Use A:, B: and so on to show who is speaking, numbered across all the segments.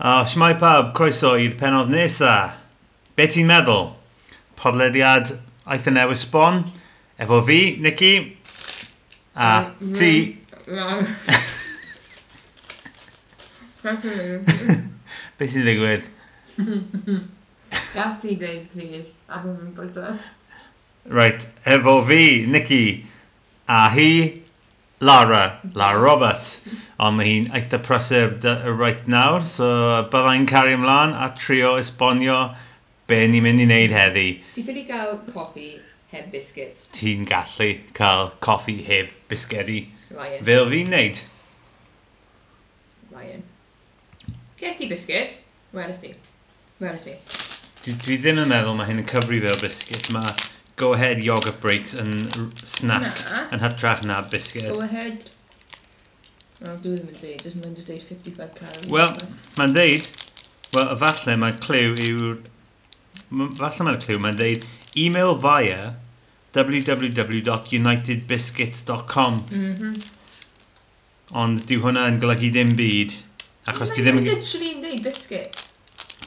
A: A siamai pawb, croeso i'r penod nesa. Be ti'n meddwl? Podlediad aeth y newydd sbon, efo fi, Nicky, a ti.
B: Lan.
A: Be sy'n digwydd?
B: Gath i dweud plîs, a dwi'n mynd bod o.
A: Right, efo fi, Nicky, a hi, Lara, Lara Roberts. Ond mae hi'n eitha prysur dy- reit nawr, so byddai'n cario ymlaen a trio esbonio be ni'n mynd i wneud heddi.
C: Ti'n ffili gael coffi heb biscuits?
A: Ti'n gallu cael coffi heb bisgedi.
C: Ryan.
A: Fel fi'n wneud.
C: Ryan. Ges ti biscuit? Weles ti? Weles ti?
A: Dwi, dwi ddim yn meddwl mae hyn yn cyfri fel biscuit. Mae go ahead yogurt breaks yn r- snack
C: Na.
A: yn hytrach na
C: Go
A: biscuit.
C: ahead. Oh, dwi ddim yn dweud, dwi'n mynd i dweud 55 calories.
A: Wel, Mae'n deud, wel, falle mae'r cliw yw'r... m- Falle mae'r cliw, mae'n deud email via www.unitedbiscuits.com
C: Mhm.
A: ond dyw hwnna yn golygu ddim byd achos ti ddim yn...
C: Dwi'n literally yn dweud biscuit.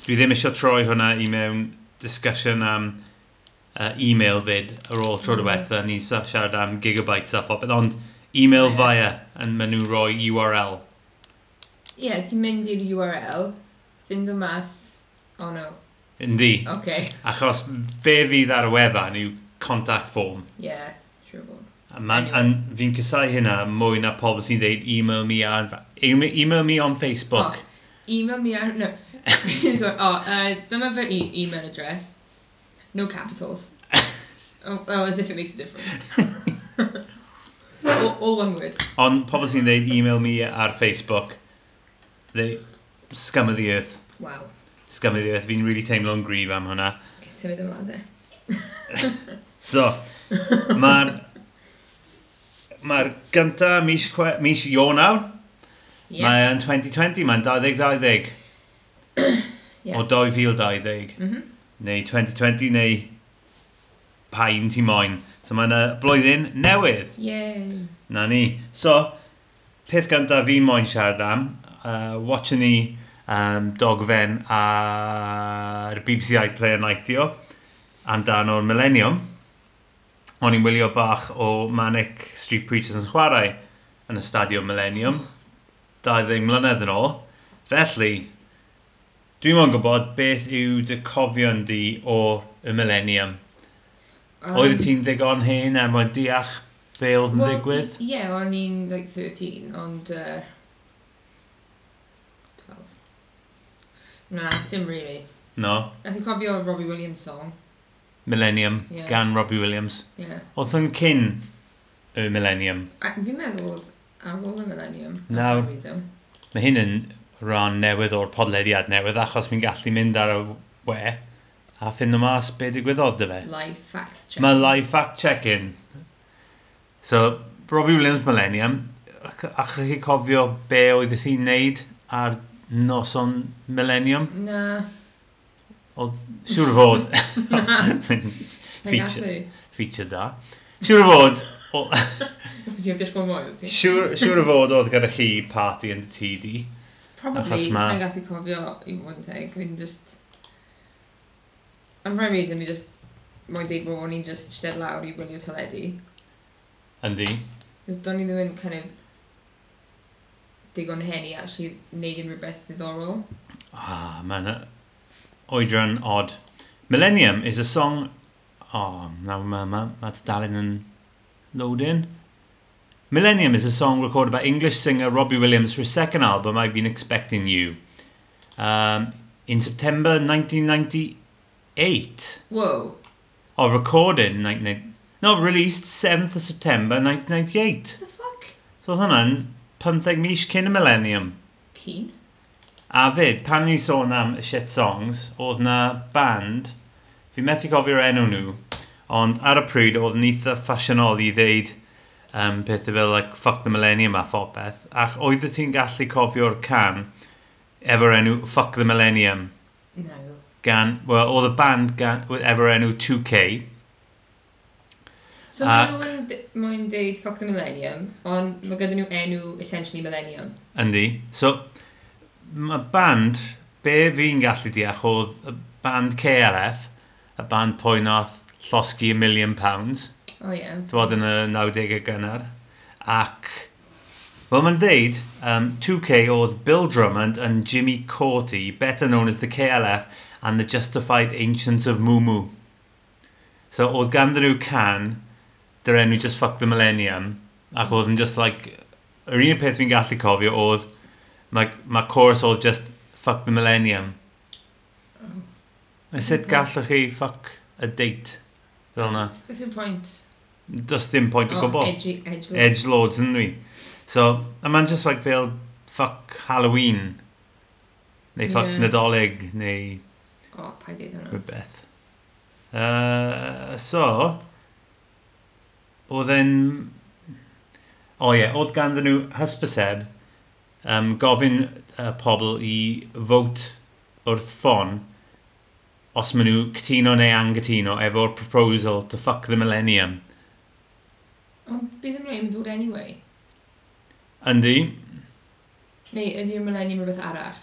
A: Dwi ddim eisiau troi hwnna i mewn discussion am uh, e-mail fyd ar ôl
C: Mm.
A: tro diwetha. Ni sa- siarad am gigabytes a phobeth, ond e-mail
C: Ie.
A: via yn maen nhw roi URL.
C: Ie, yeah, ti'n mynd i'r URL, fynd o mas, oh no,
A: Yndi,
C: oce, okay.
A: achos be fydd ar y wefan yw contact form.
C: ie, yeah, sure bod.
A: A man,
C: Anyway.
A: an, fi'n cysau hynna mwy na pobl sy'n deud email me ar... Email, email me on Facebook.
C: Oh, Email me ar, no, He's going, oh, uh, dyma fy e email address, no capitals. Oh, oh, as if it makes a difference. all, all one word.
A: Ond pobl sy'n deud email me ar Facebook, they scum of the earth.
C: Wow.
A: Scum of the earth, fi'n really teimlo'n grif am hwnna.
C: Okay, symud e. ymlaen te.
A: So, Mae'r mae gyntaf mis, chwe- mis Ionaw, yeah.
C: Ie.
A: mae yn 2020, mae'n 2020
C: Ie.
A: o 2020,
C: Mhm.
A: neu 2020 neu pain ti moyn. So mae'n y blwyddyn newydd,
C: Yay.
A: na ni. So, peth gyntaf fi moyn siarad am, uh, watching ni um, dogfen ar BBC iPlayer neithio amdano'r Millennium, o'n i'n wylio bach o Manic Street Preachers yn chwarae yn y Stadio Millennium 20 mlynedd yn ôl. Felly, dwi'n mwyn gwybod beth yw dy cofion di o y Millennium.
C: Um,
A: Oedd ti'n ddigon hen a mwyn deall be oedd yn
C: well,
A: digwydd?
C: i- Ie, yeah, o'n i'n like 13, ond... Uh, 12. Na, dim really.
A: No,
C: Nath i cofio Robbie Williams song.
A: Millennium
C: Ie.
A: gan Robbie Williams.
C: Ie. Yeah.
A: Oedd hwn cyn y Millennium.
C: Fi'n meddwl oedd ar ôl y millennium. am
A: Nawr.
C: some reason.
A: Mae hyn yn rhan newydd o'r podlediad newydd achos fi'n gallu mynd ar y we a ffind o mas be digwyddodd dy fe.
C: Live fact check.
A: Mae live fact checking. So, Robbie Williams Millennium, ac- allwch chi cofio be oedd hi'n wneud ar noson Millennium?
C: Na.
A: Oedd siŵr o fod. feature,
C: Feature.
A: feature da. Siŵr o fod, o-
C: Ti'n ddysgu mwy o ti?
A: siŵr, siŵr o fod oedd gyda chi party yn y tŷ di.
C: Probably,
A: Achos
C: sa'n
A: ma-
C: gallu cofio i mwyn teg, fi'n just... Am rhaid reason, fi just... Mwyn deud bod o'n i'n just sted lawr i wylio teledu.
A: Yndi.
C: Cos do'n i ddim yn kind of... Digon hen i actually neud unrhyw beth ddiddorol.
A: Ah, man, uh, oedran odd. Millennium is a song... Oh, now my, my, that's Dalin and Loading. Millennium is a song recorded by English singer Robbie Williams for his second album, I've Been Expecting You. Um, in September 1998,
C: Whoa.
A: or Oh, recorded in 19... No, released 7th of September 1998.
C: The fuck?
A: So oedd hwnna'n 15 mis cyn y Millennium.
C: Keen?
A: A fyd, pan ni sôn am y shit songs, oedd na band, fi methu cofio'r enw nhw, ond ar y pryd oedd yn eitha ffasiynol i ddeud um, pethau fel like, fuck the millennium a phobeth, ac oedd y ti'n gallu cofio'r can efo'r enw fuck the millennium
C: No.
A: gan, well, oedd y band gan, efo'r enw 2K,
C: So
A: Ac-
C: maen nhw'n d- maen nhw'n deud fuck the millennium, ond mae gyda nhw enw essentially millennium.
A: yndi. So, mae band be fi'n gallu deall oedd y band KLF, y band pwy nath llosgi a million pounds,
C: O ie.
A: dwod yn y 90au gynnar, ac, wel mae'n ddeud, um, 2K oedd Bill Drummond and Jimmy Corti, better known as the KLF and the Justified Ancients of Moo Moo. So oedd ganddyn nhw can, dyr enw Just Fuck the Millennium, ac oedd yn just like, yr un peth fi'n gallu cofio oedd, mae ma chorus oedd just Fuck the Millennium. Oh. Sut gallwch chi fuck a date fel na?
C: Beth yw'r pwynt?
A: Does dim point
C: Oh,
A: o gwbl.
C: edgy, edgy.
A: Edge Lords yn dwi. So, a man just like fel fuck Halloween. Neu fuck
C: Ie.
A: yeah. Nadolig, neu
C: O, pa Oh, i dweud hwnna.
A: rhywbeth. Uh, so, oedd e'n... O oh, ie, yeah, oedd ganddyn nhw hysbyseb um, gofyn uh, pobl i vote wrth ffon os maen nhw cytuno neu angytuno efo'r proposal to fuck the millennium.
C: Ond bydd yn rhaid yn dod anyway.
A: Yndi,
C: Neu ydy'r millennium rhywbeth arall?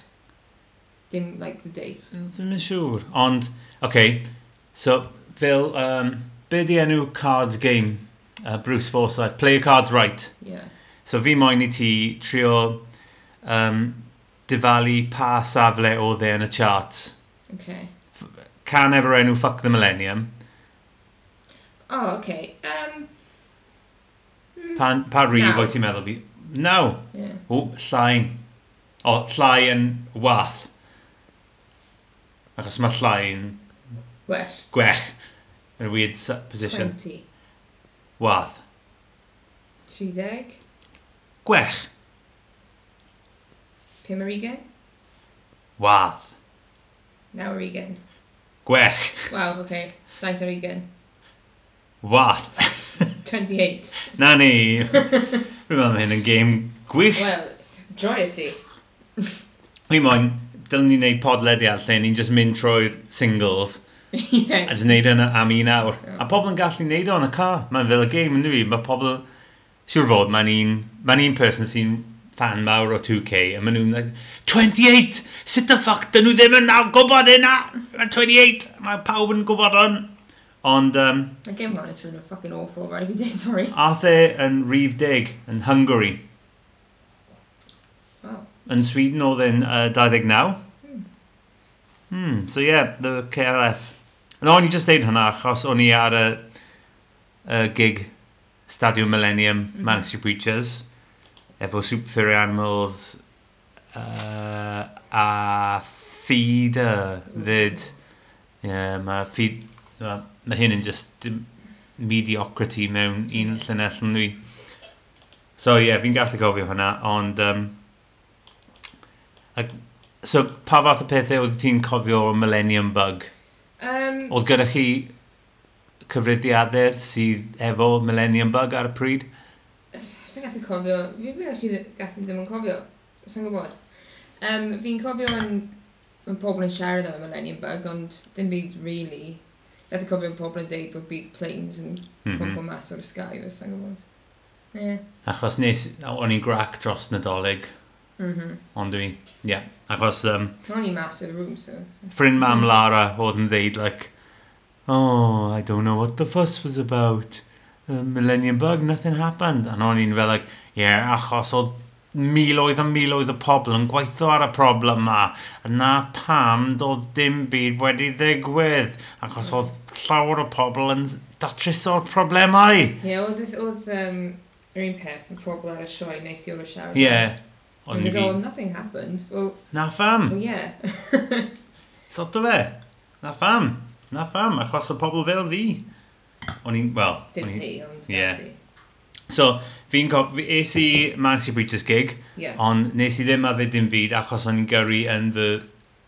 C: Dim, like, the date.
A: Ddim yn siŵr. Ond, oce, okay, so fel, um, be di enw cards game uh, Bruce Forsyth? Play your cards right.
C: Yeah.
A: So fi moyn i ti trio um, difalu pa safle o dde yn y charts.
C: Okay.
A: Can efo'r enw Fuck the Millennium.
C: Oh, okay. Um,
A: Pa, pa rif
C: Naw.
A: o'i ti'n meddwl fi? Naw.
C: yeah.
A: O, llai. O, llai yn wath. Achos mae llai yn
C: Well,
A: gwech. Yn a weird s- position.
C: 20.
A: Wath.
C: 30.
A: Gwech.
C: Pum ar ugen.
A: Wath.
C: Naw ar ugen.
A: Gwech.
C: Wow, okay. Saith ar ugen.
A: Wath.
C: 28.
A: Na ni. Fi'n meddwl hyn yn gêm gwych.
C: Well, joyous i.
A: Fi moyn, dylwn ni wneud podlediad lle ni'n just mynd trwy'r singles a
C: yeah.
A: just wneud yna am un awr.
C: Ie.
A: A pobl yn gallu wneud o yn y car. Mae'n fel y gêm yn dwi. Mae pobl... Siwr fod, mae'n un, mae un person sy'n fan mawr o 2K a maen nhw'n like, 28! Sut the fuck, dyn nhw ddim yn naw gwybod hynna! Mae 28! Mae pawb yn gwybod hwn! Ond, um,
C: My game monitors are fucking awful right every day, sorry.
A: Ath e yn Rhif Dig yn Hungary.
C: Wow.
A: Yn Sweden oedd e'n uh, 29. Hmm, so yeah, the KLF. And o'n i just deud hwnna achos o'n i ar y, y gig Stadium Millennium, mm -hmm. Manchester Preachers, efo Super Furry Animals uh, a Feeder ddyd. Yeah, mae feed, uh, ma hyn yn just dim- mediocrity mewn un llynell yn dwi. So ie, yeah, fi'n gallu gofio hwnna, ond... Um, ac, so pa fath o pethau oedd ti'n cofio o Millennium Bug?
C: Um,
A: Oedd gyda chi cyfrifiadur sydd efo Millennium Bug ar y pryd?
C: Sa'n gallu cofio, fi fi actually ddi- gallu ddim yn cofio, sa'n gwybod. Um, fi'n cofio yn, yn pobl yn siarad am y Millennium Bug, ond dim byd really. Gallu cofio yn pobl yn deud bod big planes yn
A: Mhm.
C: mm -hmm. mas o'r sky, os sa'n gwybod. Ie.
A: Achos nes, o'n i'n grac dros Nadolig,
C: Mhm.
A: ond dwi, ie. Yeah. Achos um,
C: O'n i mas o'r room, so.
A: ffrind mam Lara oedd yn ddeud, like, oh, I don't know what the fuss was about. The Millennium Bug, nothing happened. And o'n i'n fel, like, yeah, achos oedd miloedd a miloedd o pobl yn gweithio ar y problem yma. A na pam doedd dim byd wedi ddigwydd. Achos oedd llawer o pobl yn datryso'r problemau.
C: Ie, oedd, oedd, um, yr un peth, yn pobl ar y sioe neithio o'r siarad.
A: Ie. Yeah.
C: Ond
A: Ond i
C: oedd,
A: fi,
C: oh, nothing happened. Well,
A: na pham.
C: well yeah.
A: Sot o fe. Na pham. Na pham, achos o pobl fel fi. O'n i'n, wel...
C: dim
A: o'n i'n-
C: ti, ond
A: Ie.
C: fel ti.
A: So, fi'n gof... fi- Es i Manchester Preachers gig,
C: Ie.
A: ond nes i ddim yfed dim byd achos o'n i'n gyrru yn fy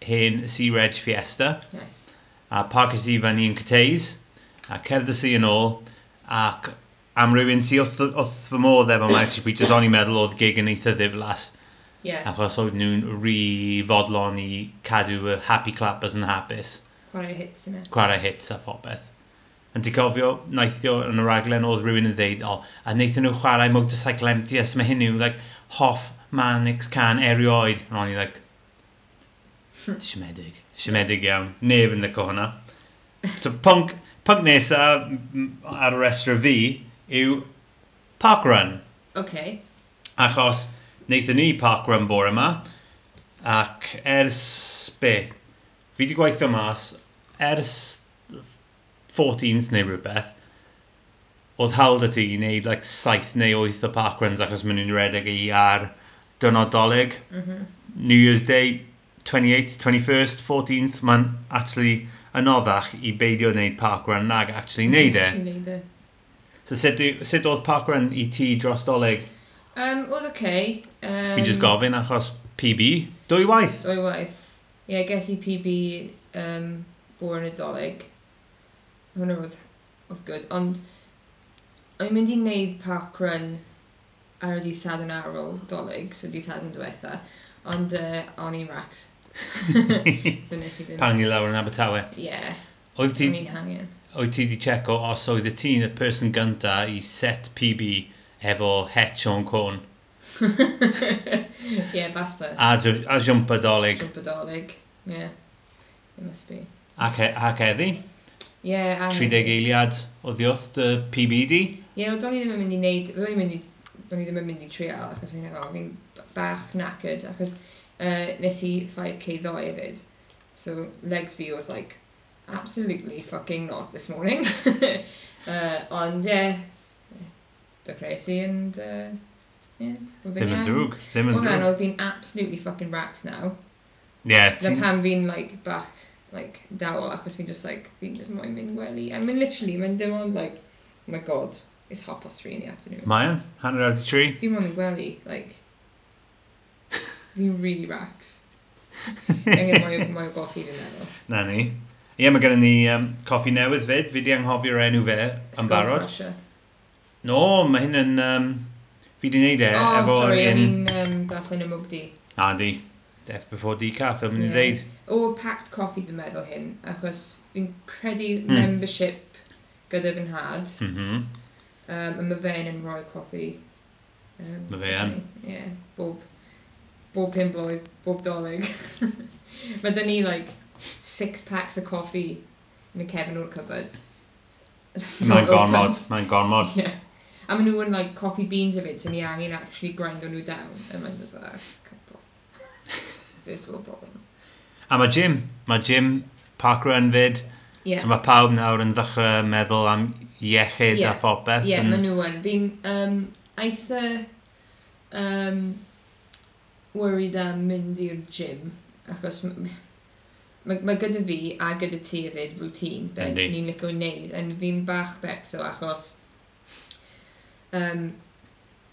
A: hen Sea Reg Fiesta.
C: Nice.
A: A parcus i fan i'n Cateys, a cerdys i yn ôl, ac am rywun sy wrth, wrth fy modd efo Manchester Preachers, o'n i'n meddwl oedd gig yn eitha ddiflas.
C: Ie,
A: Achos oedd nhw'n rhi fodlon i cadw y happy clappers yn hapus.
C: chwarae hits yna.
A: chwarae hits a phobeth. Yn ti cofio, naithio yn y raglen oedd rhywun yn ddeud, o, a naethon nhw chwarae motorcycle empty, as mae hyn yw, like, hoff Manix can erioed. A o'n i, like, Siomedig. Siomedig iawn. Neb yn ddico hwnna. So punk, punk nesa m- ar y restr fi yw parkrun.
C: Okay.
A: Achos wnaethon ni parkrun bore yma. Ac ers be? Fi wedi gweithio mas ers 14th neu rhywbeth. Oedd hawl 'da ti i wneud like 7 neu 8 o parkruns achos maen nhw'n redeg i ar dynodolig.
C: Mhm.
A: New Year's Day, 28th, 21st, 14th, mae'n actually anoddach i beidio wneud parkrun nag actually wneud e.
C: Neud e.
A: So sut, yw- sut oedd parkrun i ti dros doleg?
C: Um, oedd okay. Um,
A: Um, just gofyn achos PB, dwy waith.
C: Dwy waith. Ie, yeah, ges i PB um, bore yn y doleg. Hwna oedd, oedd good. Ond, o'n i'n mynd i wneud park run ar y disad yn arol doleg, so disad yn diwetha. Ond, uh, o'n i'n racs. so nes i ddim.
A: Pan ni lawr yn Abertawe.
C: Ie, yeah,
A: Oedd ti,
C: o'n i'n hangen.
A: oedd ti di checo os oedd y ti'n y person gynta i set PB efo het Sean Corn
C: Ie, yeah, fatha.
A: a, j- a jumpa doleg
C: Jump y doleg. Ie, yeah. it must be.
A: ac, he- ac heddi.
C: Ie, yeah,
A: 30 eiliad o ddiwrth dy PB di.
C: Ie, ond o'n i ddim yn mynd i neud, o'n i'n mynd i, o'n i ddim yn mynd i trial, achos o'n i'n meddwl, fi'n bach knackered, achos uh, nes i 5k ddoe hefyd. So, legs fi oedd like, absolutely fucking not this morning. uh, ond, ie, dechreuais i, and, uh, ie, oedd
A: Ddim yn drwg. Ddim yn
C: Oedd
A: drwg.
C: hwnna, oedd fi'n absolutely fucking racks now.
A: Ie,
C: Na
A: ti'n...
C: pan fi'n, like, bach, like, dawo, achos fi'n just, like, fi'n just moyn mynd gwely. And mae'n literally, mae'n dim ond, like, oh my god, it's half past three in the afternoon.
A: Mae yn, hanner awd i tri.
C: Fi'n mynd gwely, like, fi'n really racks. Angen mwy o- mwy o goffi fi'n meddwl.
A: Na ni. Ie, mae gennym ni um, coffi newydd fyd. Fi di anghofio'r enw fe yn
C: Skull
A: barod.
C: crusher.
A: No, mae hyn yn... Um, fi di wneud e
C: Oh,
A: efo'r
C: sorry,
A: un...
C: o'n i'n um, darllen y mwg di.
A: A di. Death Before Decaf, fel mynd i
C: Ie.
A: ddeud.
C: O, packed coffee fi'n meddwl hyn, achos fi'n credu
A: Hmm.
C: membership gyda fy nhad,
A: Mhm.
C: um, a mae fe yn rhoi coffi. Um,
A: Ma' fe yn.
C: Ie, yeah, bob, bob pum blwydd, bob doleg. mae dyn ni, like, six packs o coffi yn y cefn o'r cupboard.
A: Mae'n gormod, mae'n gormod.
C: Yeah. A maen nhw yn like coffee beans hefyd, so ni angen actually grindo nhw down. And mae'n just like, couple. First world problem.
A: A mae Jim. Mae Jim parkrun fyd.
C: Yeah.
A: So mae pawb nawr yn ddechrau meddwl am iechyd
C: Ie.
A: a phopeth.
C: yeah,
A: yn-
C: maen nhw yn. Fi'n um, eitha um, worried am mynd i'r gym, achos m- mae ma gyda fi a gyda ti hefyd routine be
A: Yndi.
C: ni'n licio wneud, and fi'n bach becso achos um,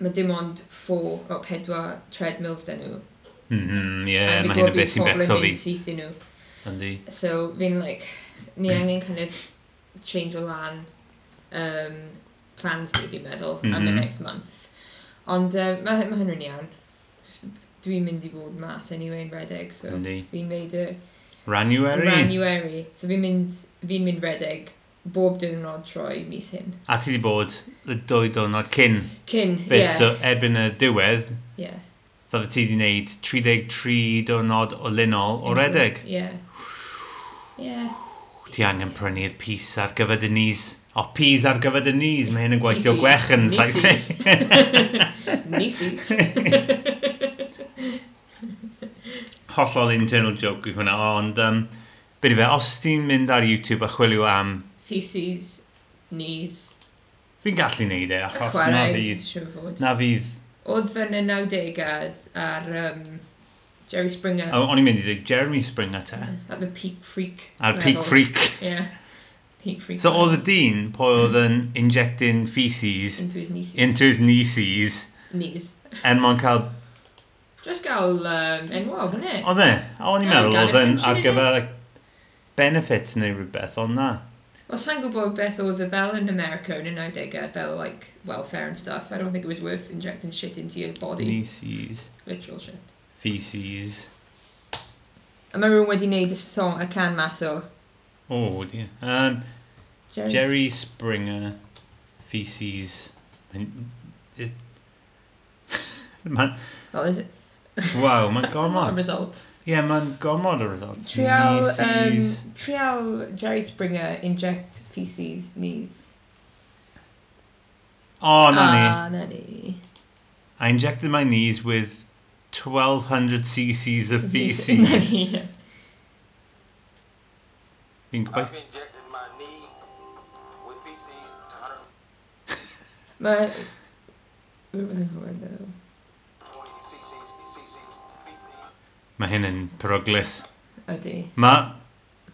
C: mae dim ond 4 o 4 treadmills dyn nhw.
A: Mhm, ie,
C: a fi'n
A: mae
C: gwbod
A: hyn y beth sy'n
C: bydd
A: becso fi.
C: pobl yn mynd syth i nhw.
A: Yndi.
C: So fi'n like, ni angen kind of change o lan um, plans ni fi'n meddwl mm -hmm. am y
A: Mhm.
C: next month. Ond uh, mae ma hynny'n iawn. S- Dwi'n mynd i bod mas anyway yn redeg, so
A: Yndi.
C: fi'n made y
A: Ranuary.
C: January. So fi'n mynd, fi'n mynd redeg bob diwrnod troi mis hyn.
A: A ti di bod y dwy diwrnod cyn
C: Cyn, ie.
A: fyd, so erbyn y diwedd,
C: Ie.
A: Fydde ti wedi gwneud 33 diwrnod o lunol
C: Mhm.
A: o redeg.
C: Ie. Ie.
A: Ti angen prynu'r pys ar gyfer dy knees. O, pys ar gyfer dy knees. Mae hyn yn gweithio gwech yn saith
C: Nisis.
A: Hollol internal joke yw hwnna, ond um, byd i fe, os ti'n mynd ar YouTube a chwilio am...
C: Feces. Knees.
A: Fi'n gallu neud e, achos na
C: Chwarae,
A: fydd.
C: siŵr o fod.
A: Na fydd.
C: Oedd yn y 90au ar um, Jerry Springer
A: O- O'n i'n mynd i dweud Jeremy Springer te,
C: at the Peak Freak.
A: ar
C: level.
A: Peak Freak.
C: Yeah, Peak Freak.
A: So
C: level.
A: oedd y dyn, pwy oedd yn injecting feces
C: Into his knees.
A: into his knees
C: knees.
A: er mwyn cael
C: Just gael um, enwog, yn it?
A: Oedd e? A o'n i'n
C: Ie,
A: meddwl
C: gan
A: oedd yn
C: attention
A: ar
C: i ni.
A: gyfer like, benefits neu rhywbeth, ond na.
C: Wel, sa'n gwybod beth oedd y fel yn America yn y 90au, fel, like, welfare and stuff. I don't think it was worth injecting shit into your body.
A: Feces.
C: Literal shit.
A: Feces.
C: A mae rhywun wedi gwneud y song, y can mas o
A: Oh, dear. Um,
C: Jerry.
A: Jerry Springer. Feces. Mae'n- it- Ma'n...
C: Well, is it?
A: Waw, mae'n
C: What a
A: gormod.
C: result.
A: Ie, mae'n gormod o results.
C: Trial,
A: Knees,
C: um, trial Jerry Springer inject feces knees.
A: Oh, na ni.
C: Ah, nanny.
A: I injected my knees with 1200 cc's of feces.
C: Nanny, yeah.
A: Fi'n
D: I've
A: gobeithio.
D: injected my knee with feces 120
C: Mae... Rwy'n mynd i'n cofio, though.
D: cc's, cc's, feces.
A: Mae hyn yn peryglis.
C: Ydy.
A: Mae,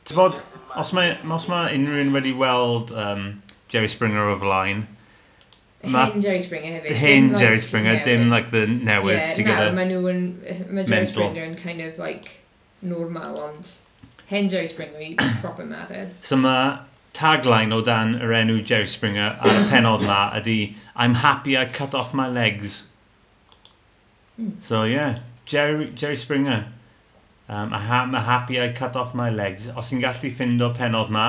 A: ti'n bod, os mae, os mae unrhyw un wedi weld um, Jerry Springer o flaen, Ma-
C: Hen Jerry Springer hefyd.
A: hyn
C: dim, like,
A: Jerry Springer, dim
C: newydd.
A: like the newydd
C: yeah,
A: sy'n
C: na,
A: gyda.
C: mae nhw yn... Mae Jerry
A: Mental.
C: uh, Springer yn kind of like normal, ond... Hen Jerry Springer i proper madded.
A: So mae tagline o dan yr enw Jerry Springer ar y penod na ydy I'm happy I cut off my legs.
C: Hmm.
A: So yeah, Jerry, Jerry Springer. Um, I ha- I'm happy I cut off my legs. Os ti'n gallu ffind o penod na,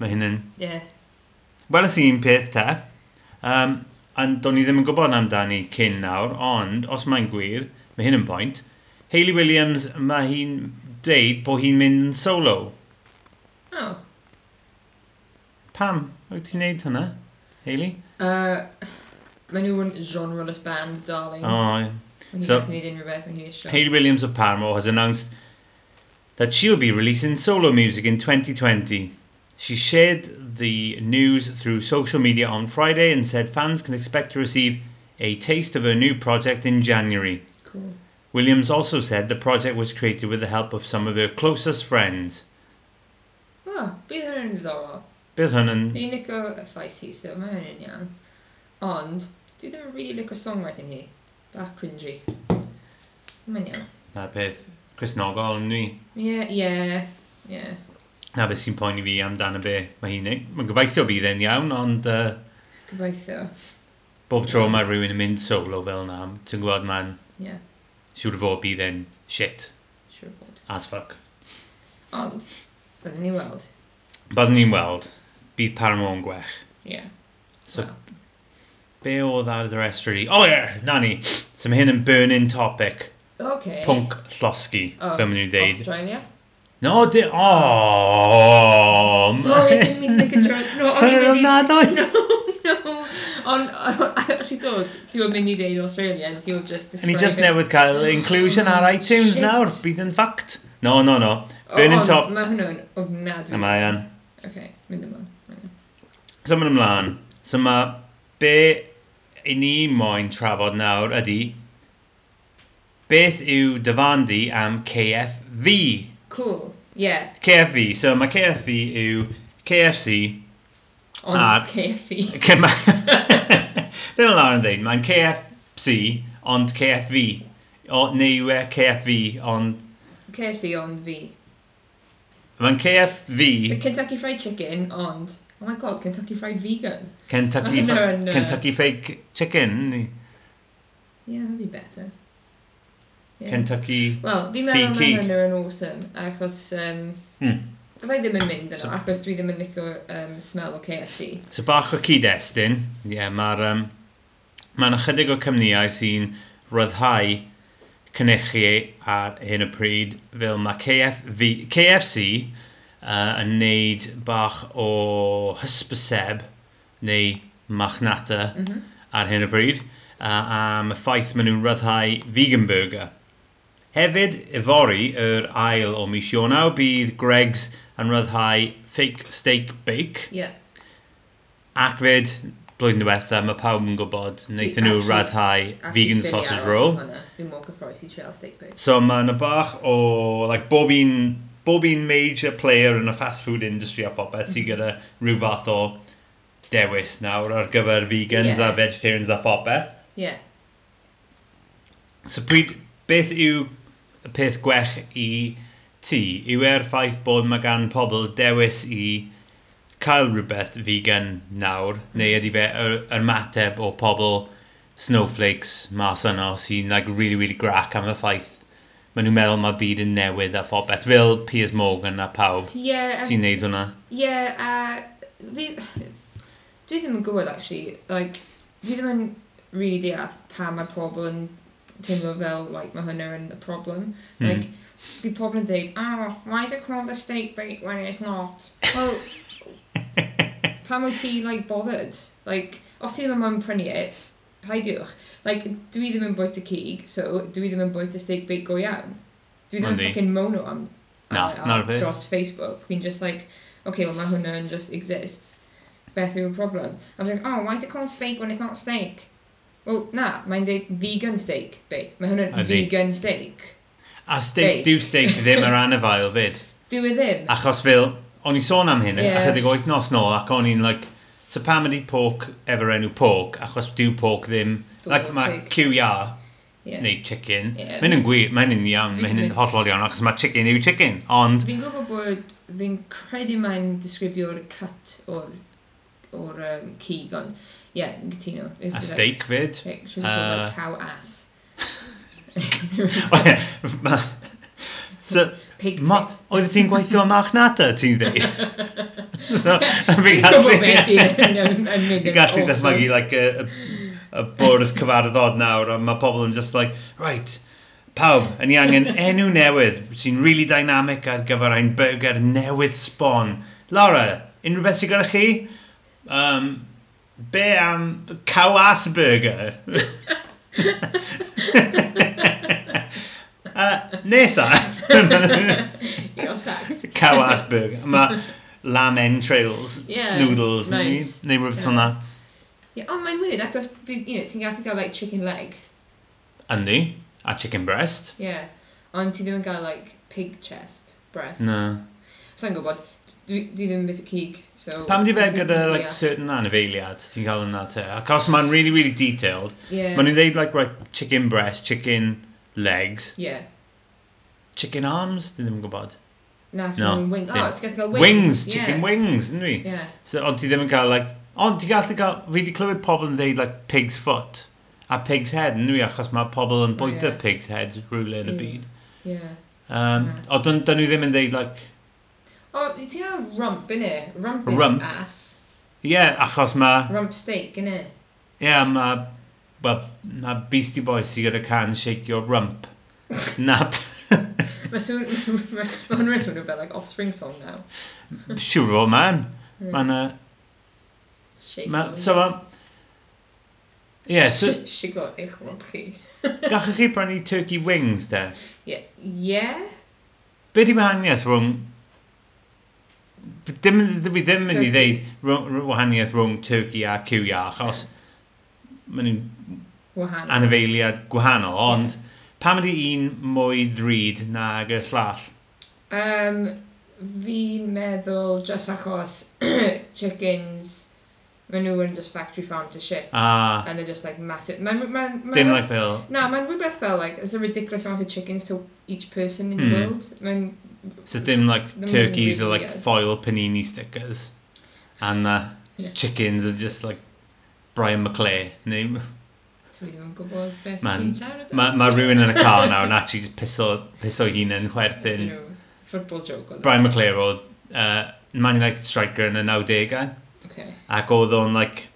A: mae hyn yn
C: Yeah.
A: Weles i un peth te, um, a do'n i ddim yn gwybod amdani cyn nawr, ond os mae'n gwir, mae hyn yn pwynt, Hayley Williams, mae hi'n deud bod hi'n mynd yn solo.
C: Oh.
A: Pam? Wyt ti'n neud hynna, Hayley?
C: Uh, mae nhw yn genreless band, darling.
A: Oh,
C: Mae hi'n
A: so-
C: gallu neud unrhyw beth, mae hi'n eisiau.
A: Hayley Williams of Paramore has announced that she'll be releasing solo music in 2020. She shared the news through social media on Friday and said fans can expect to receive a taste of her new project in January.
C: Cool.
A: Williams also said the project was created with the help of some of her closest friends.
C: Oh, bydd hwn yn ddiddorol.
A: Bydd hwn yn...
C: Fi'n licio y ffais hi, so mae hwn yn iawn. Ond, dwi ddim yn really licio songwriting hi. Bach cringy. Mae'n iawn.
A: Na peth. Cresnogol yn ni.
C: Ie, ie, ie.
A: Na beth sy'n poeni fi amdano be mae hi'n neud. Mae'n gobeithio bydd e'n iawn, ond uh,
C: Gobeithio.
A: bob tro mae rhywun yn mynd solo fel na, ti'n gwybod man,
C: Ie,
A: siŵr o fod bydd e'n shit
C: siwr bod.
A: as fuck.
C: Ond, byddwn ni weld.
A: Byddwn ni'n weld, bydd Paramount yn gwech.
C: Ie.
A: So,
C: Wel,
A: be oedd ar yr estrady? O oh, ie, yeah, na ni. So mae hyn yn burn-in topic.
C: Okay.
A: Pwnc llosgi,
C: Eh. O,
A: fel maen nhw'n dweud.
C: Australia.
A: No, di... Oh!
C: Sorry, didn't mean to make a joke. No, o'n i'n
A: Wel,
C: mynd
A: na,
C: i...
A: do.
C: No, no. Ond, actually, do, ti o'n mynd i deud Australia, and ti o'n
A: And
C: just describing...
A: he just newydd cael inclusion ar iTunes
C: Oh, Shit. Oh,
A: nawr, bydd yn fact. No, no, no. Burn in top.
C: Ond, mae hwnnw'n ofnadwy.
A: A mae an.
C: Okay, mynd ymlaen. Iawn.
A: So mae'n ymlaen. So mae be i ni moyn trafod nawr ydy beth yw dyfandu am KFV.
C: Cool, yeah.
A: KFV, so mae KFV yw KFC
C: Ond
A: Ar-
C: KFC.
A: Ac ma- Be mae Lauren yn dweud? Mae'n KFC ond KFV. O, neu yw e KFV ond...
C: KFC ond fi.
A: Mae'n
C: The
A: KFV
C: Kentucky Fried Chicken ond... Oh my god, Kentucky Fried Vegan.
A: Kentucky,
C: Ma' hwnna yn,
A: fa-
C: yy,
A: Kentucky Fake Chicken. ni?
C: Yeah, that'd be better. Yeah.
A: Kentucky...
C: Wel,
A: Fig
C: fi'n meddwl
A: cig.
C: mae hynny yn awesome, achos... Um,
A: Hmm.
C: Byddai ddim yn mynd
A: So-
C: yno, achos dwi ddim yn licio um, smell o KFC.
A: So bach o cyd-destun. Ie, yeah, mae'r... Um, mae'n ychydig o cymniau sy'n ryddhau cynnychu ar hyn o pryd fel mae KFV, KFC uh, yn neud bach o hysbyseb neu machnata
C: Mm -hmm.
A: ar hyn o bryd uh, am y ffaith maen nhw'n ryddhau vegan burger. Hefyd, efori, yr ail o mis Ionaw, bydd Greg's yn ryddhau fake steak bake.
C: Yeah.
A: Ac fyd, blwyddyn diwetha, mae pawb yn gwybod, wnaethon nhw
C: Actually-
A: raddhau
C: A
A: vegan
C: chicken
A: sausage
C: arrow,
A: roll.
C: hwnna. Fi'n mwyn gyffroes i trail steak bake.
A: So mae yna bach o, like, bob un, bob un major player yn y fast food industry a popeth
C: Mm-hmm.
A: sydd gyda rhyw fath o dewis nawr ar gyfer vegans
C: Ie.
A: a vegetarians a popeth.
C: Yeah.
A: So pryd, beth yw y peth gwech i ti? Yw e'r ffaith bod mae gan pobl dewis i cael rhywbeth vegan nawr? Neu ydy fe yr yr mateb o pobl snowflakes mas yno sy'n like, really, really grac am y ffaith maen nhw'n meddwl mae byd yn newydd a phobeth fel Piers Morgan a pawb
C: Yeah, a-
A: sy'n neud hwnna.
C: Ie, a fi... Dwi ddim yn gwybod, actually. Like, fi ddim yn really deall pa mae pobl yn teimlo fel, like, mae hynna yn y problem.
A: Mm.
C: Like, bydd pobl yn dweud, oh, why do you call the steak bake when it's not? Well, pan wyt ti, like, bothered? Like, os ti ddim yn prynu e, paidiwch. Like, dwi ddim yn bwyta cig, so dwi ddim yn bwyta steak bake go iawn. Dwi ddim yn
A: Yndi.
C: fucking mono am,
A: Na,
C: am-
A: na'r peth.
C: dros Facebook. Fi'n just like, okay, well, mae hwnna yn just exist. Beth yw'r problem? I was like, oh, why is it called steak when it's not steak? Well, na, mae'n dweud vegan steak bake. Mae hwnna'n
A: Yndi.
C: vegan steak.
A: A steak,
C: Steak.
A: dyw steak ddim ar anafael fyd.
C: Dyw e ddim.
A: Achos fel, o'n i sôn am hyn, yeah.
C: Ie.
A: ychydig wythnos nôl, ac o'n i'n like, so pam ydi pork efo'r enw pork, achos dyw pork ddim,
C: Dwi'n
A: like
C: gwbod
A: mae
C: pig.
A: QR,
C: Ie.
A: neu chicken,
C: Ie.
A: mae'n yn gwir, mae'n yn iawn,
C: Fi-
A: mae'n yn
C: fi-
A: hollol iawn, achos mae chicken yw chicken, ond,
C: Fi'n gwybod bod fi'n credu mae'n disgrifio'r cut o'r, or um, cig, ond ie, yeah, yn gytuno.
A: a steak fyd.
C: Like, should we call
A: Uh,
C: that cow ass?
A: O ie, ma- so,
C: Pig
A: ma,
C: tit.
A: oedd ti'n gweithio am marchnata, ti'n dweud? so, fi'n
C: Fi'n gwybod
A: gallu...
C: beth sy'n yn- yn mynd
A: Fi'n
C: yn
A: gallu
C: awesome.
A: dychmygu, like, y, y, y bwrdd cyfarddod nawr, a mae pobl yn just like, right, pawb, yn i angen enw newydd, sy'n really dynamic ar gyfer ein burger newydd sbon. Laura, unrhyw beth sy'n gyda chi? Um, be am cawas burger? uh, nesa.
C: You're sacked.
A: cawas burger. Mae lamb entrails,
C: Yeah,
A: noodles,
C: nice.
A: neu rhywbeth
C: Yeah.
A: hwnna.
C: Ie, ond mae'n weird, ac oedd- bydd- you know, ti'n gallu gael, like, chicken leg,
A: Yndi, a chicken breast.
C: ie. Yeah. Ond ti ddim yn gael, like, pig chest, breast.
A: Na.
C: Sa'n gwybod, dwi dwi ddim yn bit o cig, so...
A: Pam di fe
C: Dwi'n
A: gyda
C: gwbod,
A: like,
C: ie.
A: certain anifeiliad, ti'n cael yna te? Acos mae'n really, really detailed.
C: Ie.
A: Yeah. Mae'n dweud like, right, chicken breast, chicken legs,
C: Ie.
A: chicken arms, dwi ddim yn gwybod.
C: Na,
A: No,
C: no, wing.
A: dim.
C: Oh, ti'n gallu cael
A: Wings,
C: wings.
A: wings chicken wings, yn dwi?
C: Yeah. yeah.
A: So, ond ti ddim yn cael, like, ond ti gallu cael, fi di clywed pobl yn dweud, like, pig's foot a pig's head, yn dwi? Achos mae pobl yn
C: O,
A: bwyta
C: ie.
A: pig's heads rhywle yn y
C: Ie.
A: byd.
C: Yeah.
A: Um,
C: Na.
A: o, dyn, dyn nhw ddim yn dweud, like,
C: O, oh, ti'n cael rump, innit? Rump is
A: Rump.
C: ass.
A: ie, yeah, achos mae...
C: Rump steak, innit?
A: Ie, yeah, mae... Wel, na Beastie Boys sy'n gyda can shake your rump. Na,
C: Mae swn... Mae hwnna'n swnio fel, like, offspring song now.
A: siwr o man.
C: Mm.
A: Mae na...
C: Shake
A: Ma,
C: it.
A: so ma... Ie, yeah, so
C: Shigo eich rump chi.
A: gallwch chi brynu turkey wings de?
C: Ie. Ie?
A: Be di wahaniaeth rhwng... Dim, dwi ddim yn mynd i
C: Turkey.
A: ddeud rhwng- rhwng- wahaniaeth rhwng turkey a cwia, achos maen nhw'n
C: Wahan.
A: anifeiliad gwahanol, ond pam ydi un mwy ddrud nag y llall?
C: Um, fi'n meddwl just achos chickens, maen nhw yn just factory farm to shit.
A: A,
C: And they're just like massive. Mae'n... Mae'n...
A: Ah. dim like fel
C: Na, mae'n rhywbeth fel, like, there's a ridiculous amount of chickens to each person in
A: Hmm.
C: the world. Mae'n...
A: So dim like
C: Them
A: turkeys are like
C: weird.
A: foil panini stickers, and uh,
C: Yeah.
A: chickens are just like Brian McClay. Neu
C: Dwi ddim yn gwybod beth
A: Man,
C: ti'n siarad am.
A: mae ma rhywun yn y car nawr yn actually just piso piso hun yn
C: You
A: chwerthin.
C: know, Football joke oedd. e.
A: Brian McClay oedd uh, Man United striker yn y 90au,
C: Okay.
A: ac oedd o'n like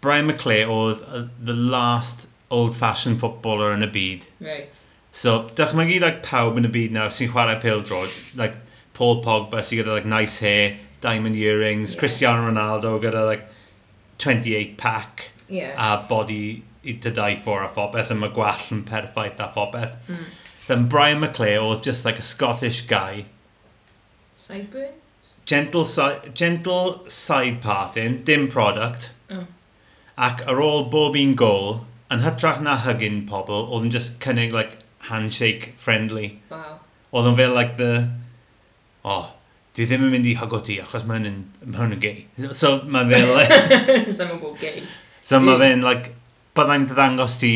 A: Brian McClay oedd uh, the last old-fashioned footballer yn y byd.
C: Right.
A: So, dychmygu like, pawb yn y byd nawr sy'n chwarae pêl-droed. Like, Paul Pogba sy'n gyda like, nice hair, diamond earrings,
C: Ie.
A: Cristiano Ronaldo gyda like, 28 pack
C: Yeah.
A: a body i to die for a phobeth a mae gwall yn perffaith a phobeth.
C: Mm.
A: Then Brian McClay oedd just like a Scottish guy.
C: Sideburn?
A: Gentle, si gentle side parting, dim product.
C: Oh.
A: Ac ar ôl bob un gol, yn hytrach na hygin pobl, oedd yn just cynnig like handshake friendly.
C: Wow.
A: Oedd o'n fel like the... Oh, dwi ddim yn mynd i hygo ti achos mae hwn yn, ma hwn yn gay. So mae fe like...
C: Because I'm a ball gay.
A: so mae fe'n like... Byddai'n ddangos ti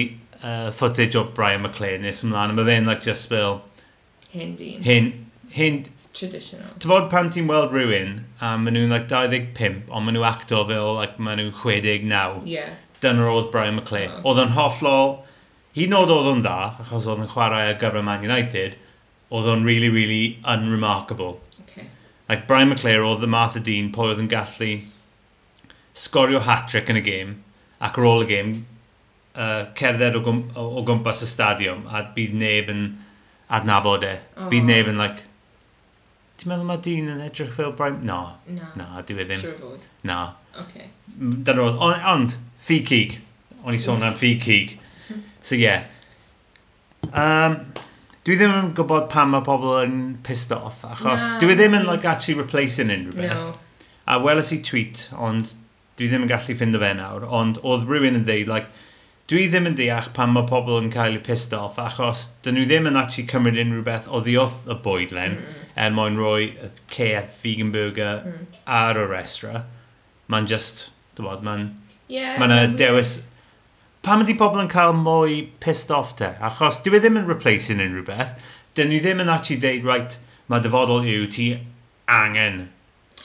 A: uh, footage o Brian McLean nes ymlaen. a Mae fe'n like just fel...
C: Hindi.
A: Hyn... Hyn...
C: Traditional.
A: Ti'n bod pan ti'n weld rhywun a maen nhw'n like 25 ond maen nhw acto fel like maen nhw'n 69.
C: Yeah.
A: Dyna oedd Brian McClay.
C: Oh.
A: Oedd o'n hollol... Hyd yn oed oedd o'n dda, achos oedd yn chwarae ar gyfer Man United, oedd o'n really, really unremarkable.
C: Okay.
A: Like Brian McClare oedd y math o dyn pwy oedd yn gallu sgorio hat-trick yn y gêm ac ar ôl y gêm uh, cerdded o, gwm, o, o gwmpas y stadiwm a bydd neb yn adnabod e. Oh.
C: O.
A: Bydd neb yn, like, ti'n meddwl mae dyn yn edrych fel Brian? No,
C: Na.
A: na, dwi ddim.
C: Siwr fod.
A: Na.
C: Okay.
A: Dyna oedd. Ond, ond ffi cig. O'n i sôn am ffi cig. So, yeah. Um, dwi ddim yn gwybod pam mae pobl yn pissed off, achos
C: Na,
A: dwi ddim yn
C: ni-
A: like, actually replacing unrhyw beth.
C: No.
A: A weles i tweet, ond dwi ddim yn gallu ffindo fe nawr, ond oedd rhywun yn dweud, like, dwi ddim yn deall pan mae pobl yn cael eu pissed off, achos dyn nhw ddim yn actually cymryd unrhyw beth o ddiwrth y bwydlen, mm. er mwyn roi y KF vegan burger
C: Mm.
A: ar y restra. Mae'n just, dy bod, mae'n
C: Yeah.
A: ma
C: no,
A: na
C: we-
A: dewis... Pam ydy pobl yn cael mwy pissed off te? Achos dwi ddim yn replacing unrhyw beth. Dyn nhw ddim yn actually deud, right, mae dyfodol yw ti angen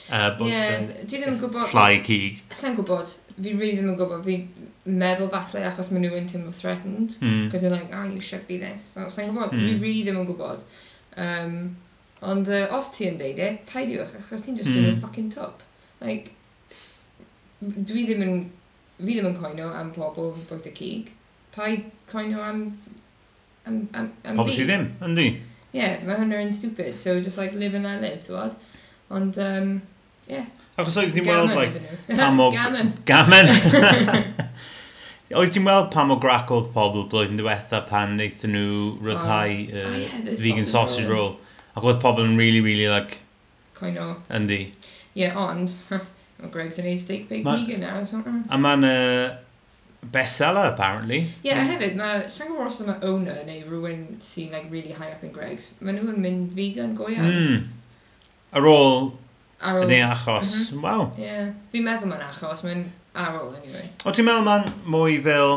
A: uh, bod
C: Yeah, dwi ddim yn gwybod...
A: llai cig.
C: Sa'n gwybod. Fi really ddim yn gwybod. Fi meddwl falle achos maen nhw yn teimlo threatened.
A: Mm.
C: Because they're like, ah, you should be this. So, sa'n gwybod.
A: Mm.
C: Fi really ddim yn gwybod. Um, ond uh, os ti yn deud e, paidiwch, achos ti'n just
A: Mm.
C: yn y fucking top. Like, dwi ddim yn... Fi ddim yn coino am pobl bod y cig. Paid coino am... am, am, am
A: Pobl
C: fi.
A: sydd ddim, yndi?
C: Yeah, mae hwnna yn stupid. So, just like, live and let live, ti'n Ond, um, yeah.
A: Achos oedd ti'n weld, like, pam o...
C: Gammon.
A: Gammon. Oedd ti'n weld pam o grac oedd pobl blwyddyn diwetha pan wnaethon nhw ryddhau
C: Oh. Oh,
A: uh,
C: yeah, the
A: vegan
C: sausage
A: sausage
C: roll.
A: roll. Ac oedd pobl yn really, really, like,
C: Coino.
A: yndi.
C: Ie, ond, mae Greg's yn ei steak bake
A: Ma-
C: vegan now, so... mm.
A: A mae'n uh, bestseller, apparently.
C: Ie, a hefyd, mae siang o os yma owner neu rhywun sy'n like, really high up in Greg's, maen nhw yn mynd vegan go iawn.
A: Mm. Ar ôl y
C: Ar ôl... Mm-hmm.
A: neu achos. Mm -hmm. Waw.
C: Ie, fi'n meddwl mae'n achos, mae'n ar ôl, anyway.
A: O ti'n meddwl ma'n mwy fel...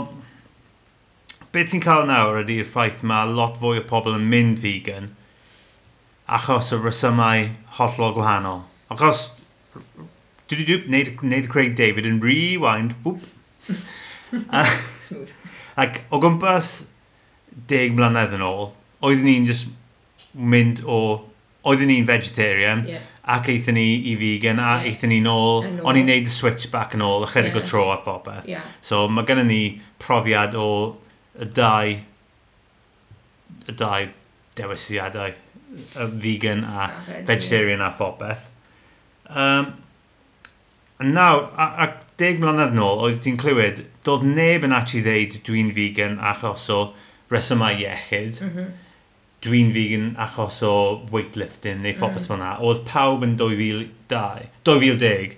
A: Be ti'n cael nawr ydy'r ffaith mae lot fwy o pobl yn mynd vegan achos o resymau hollol gwahanol. Achos... Dwi wedi gwneud, gwneud Craig David yn rewind. Whoop. A-
C: Smooth.
A: Ac o gwmpas deg mlynedd yn ôl, oeddwn ni'n just mynd o... Oeddwn ni'n vegetarian,
C: Ie.
A: ac eithon ni i vegan, a
C: Ie.
A: eithon ni nôl.
C: Yn ôl.
A: O'n i'n neud y switch back yn ôl, ychydig
C: Ie.
A: o tro a phobeth.
C: Ie.
A: So mae gennym ni profiad o y dau, y dau dewisiadau, y vegan a
C: A veg, ie.
A: vegetarian a phobeth. Um, nawr, a, a deg mlynedd nôl, oedd ti'n clywed, doedd neb yn actually ddeud dwi'n vegan achos o resymau iechyd.
C: Mhm.
A: Dwi'n vegan achos o weightlifting neu phobeth
C: Mhm.
A: mm. fel na. Oedd pawb yn 2002, 2010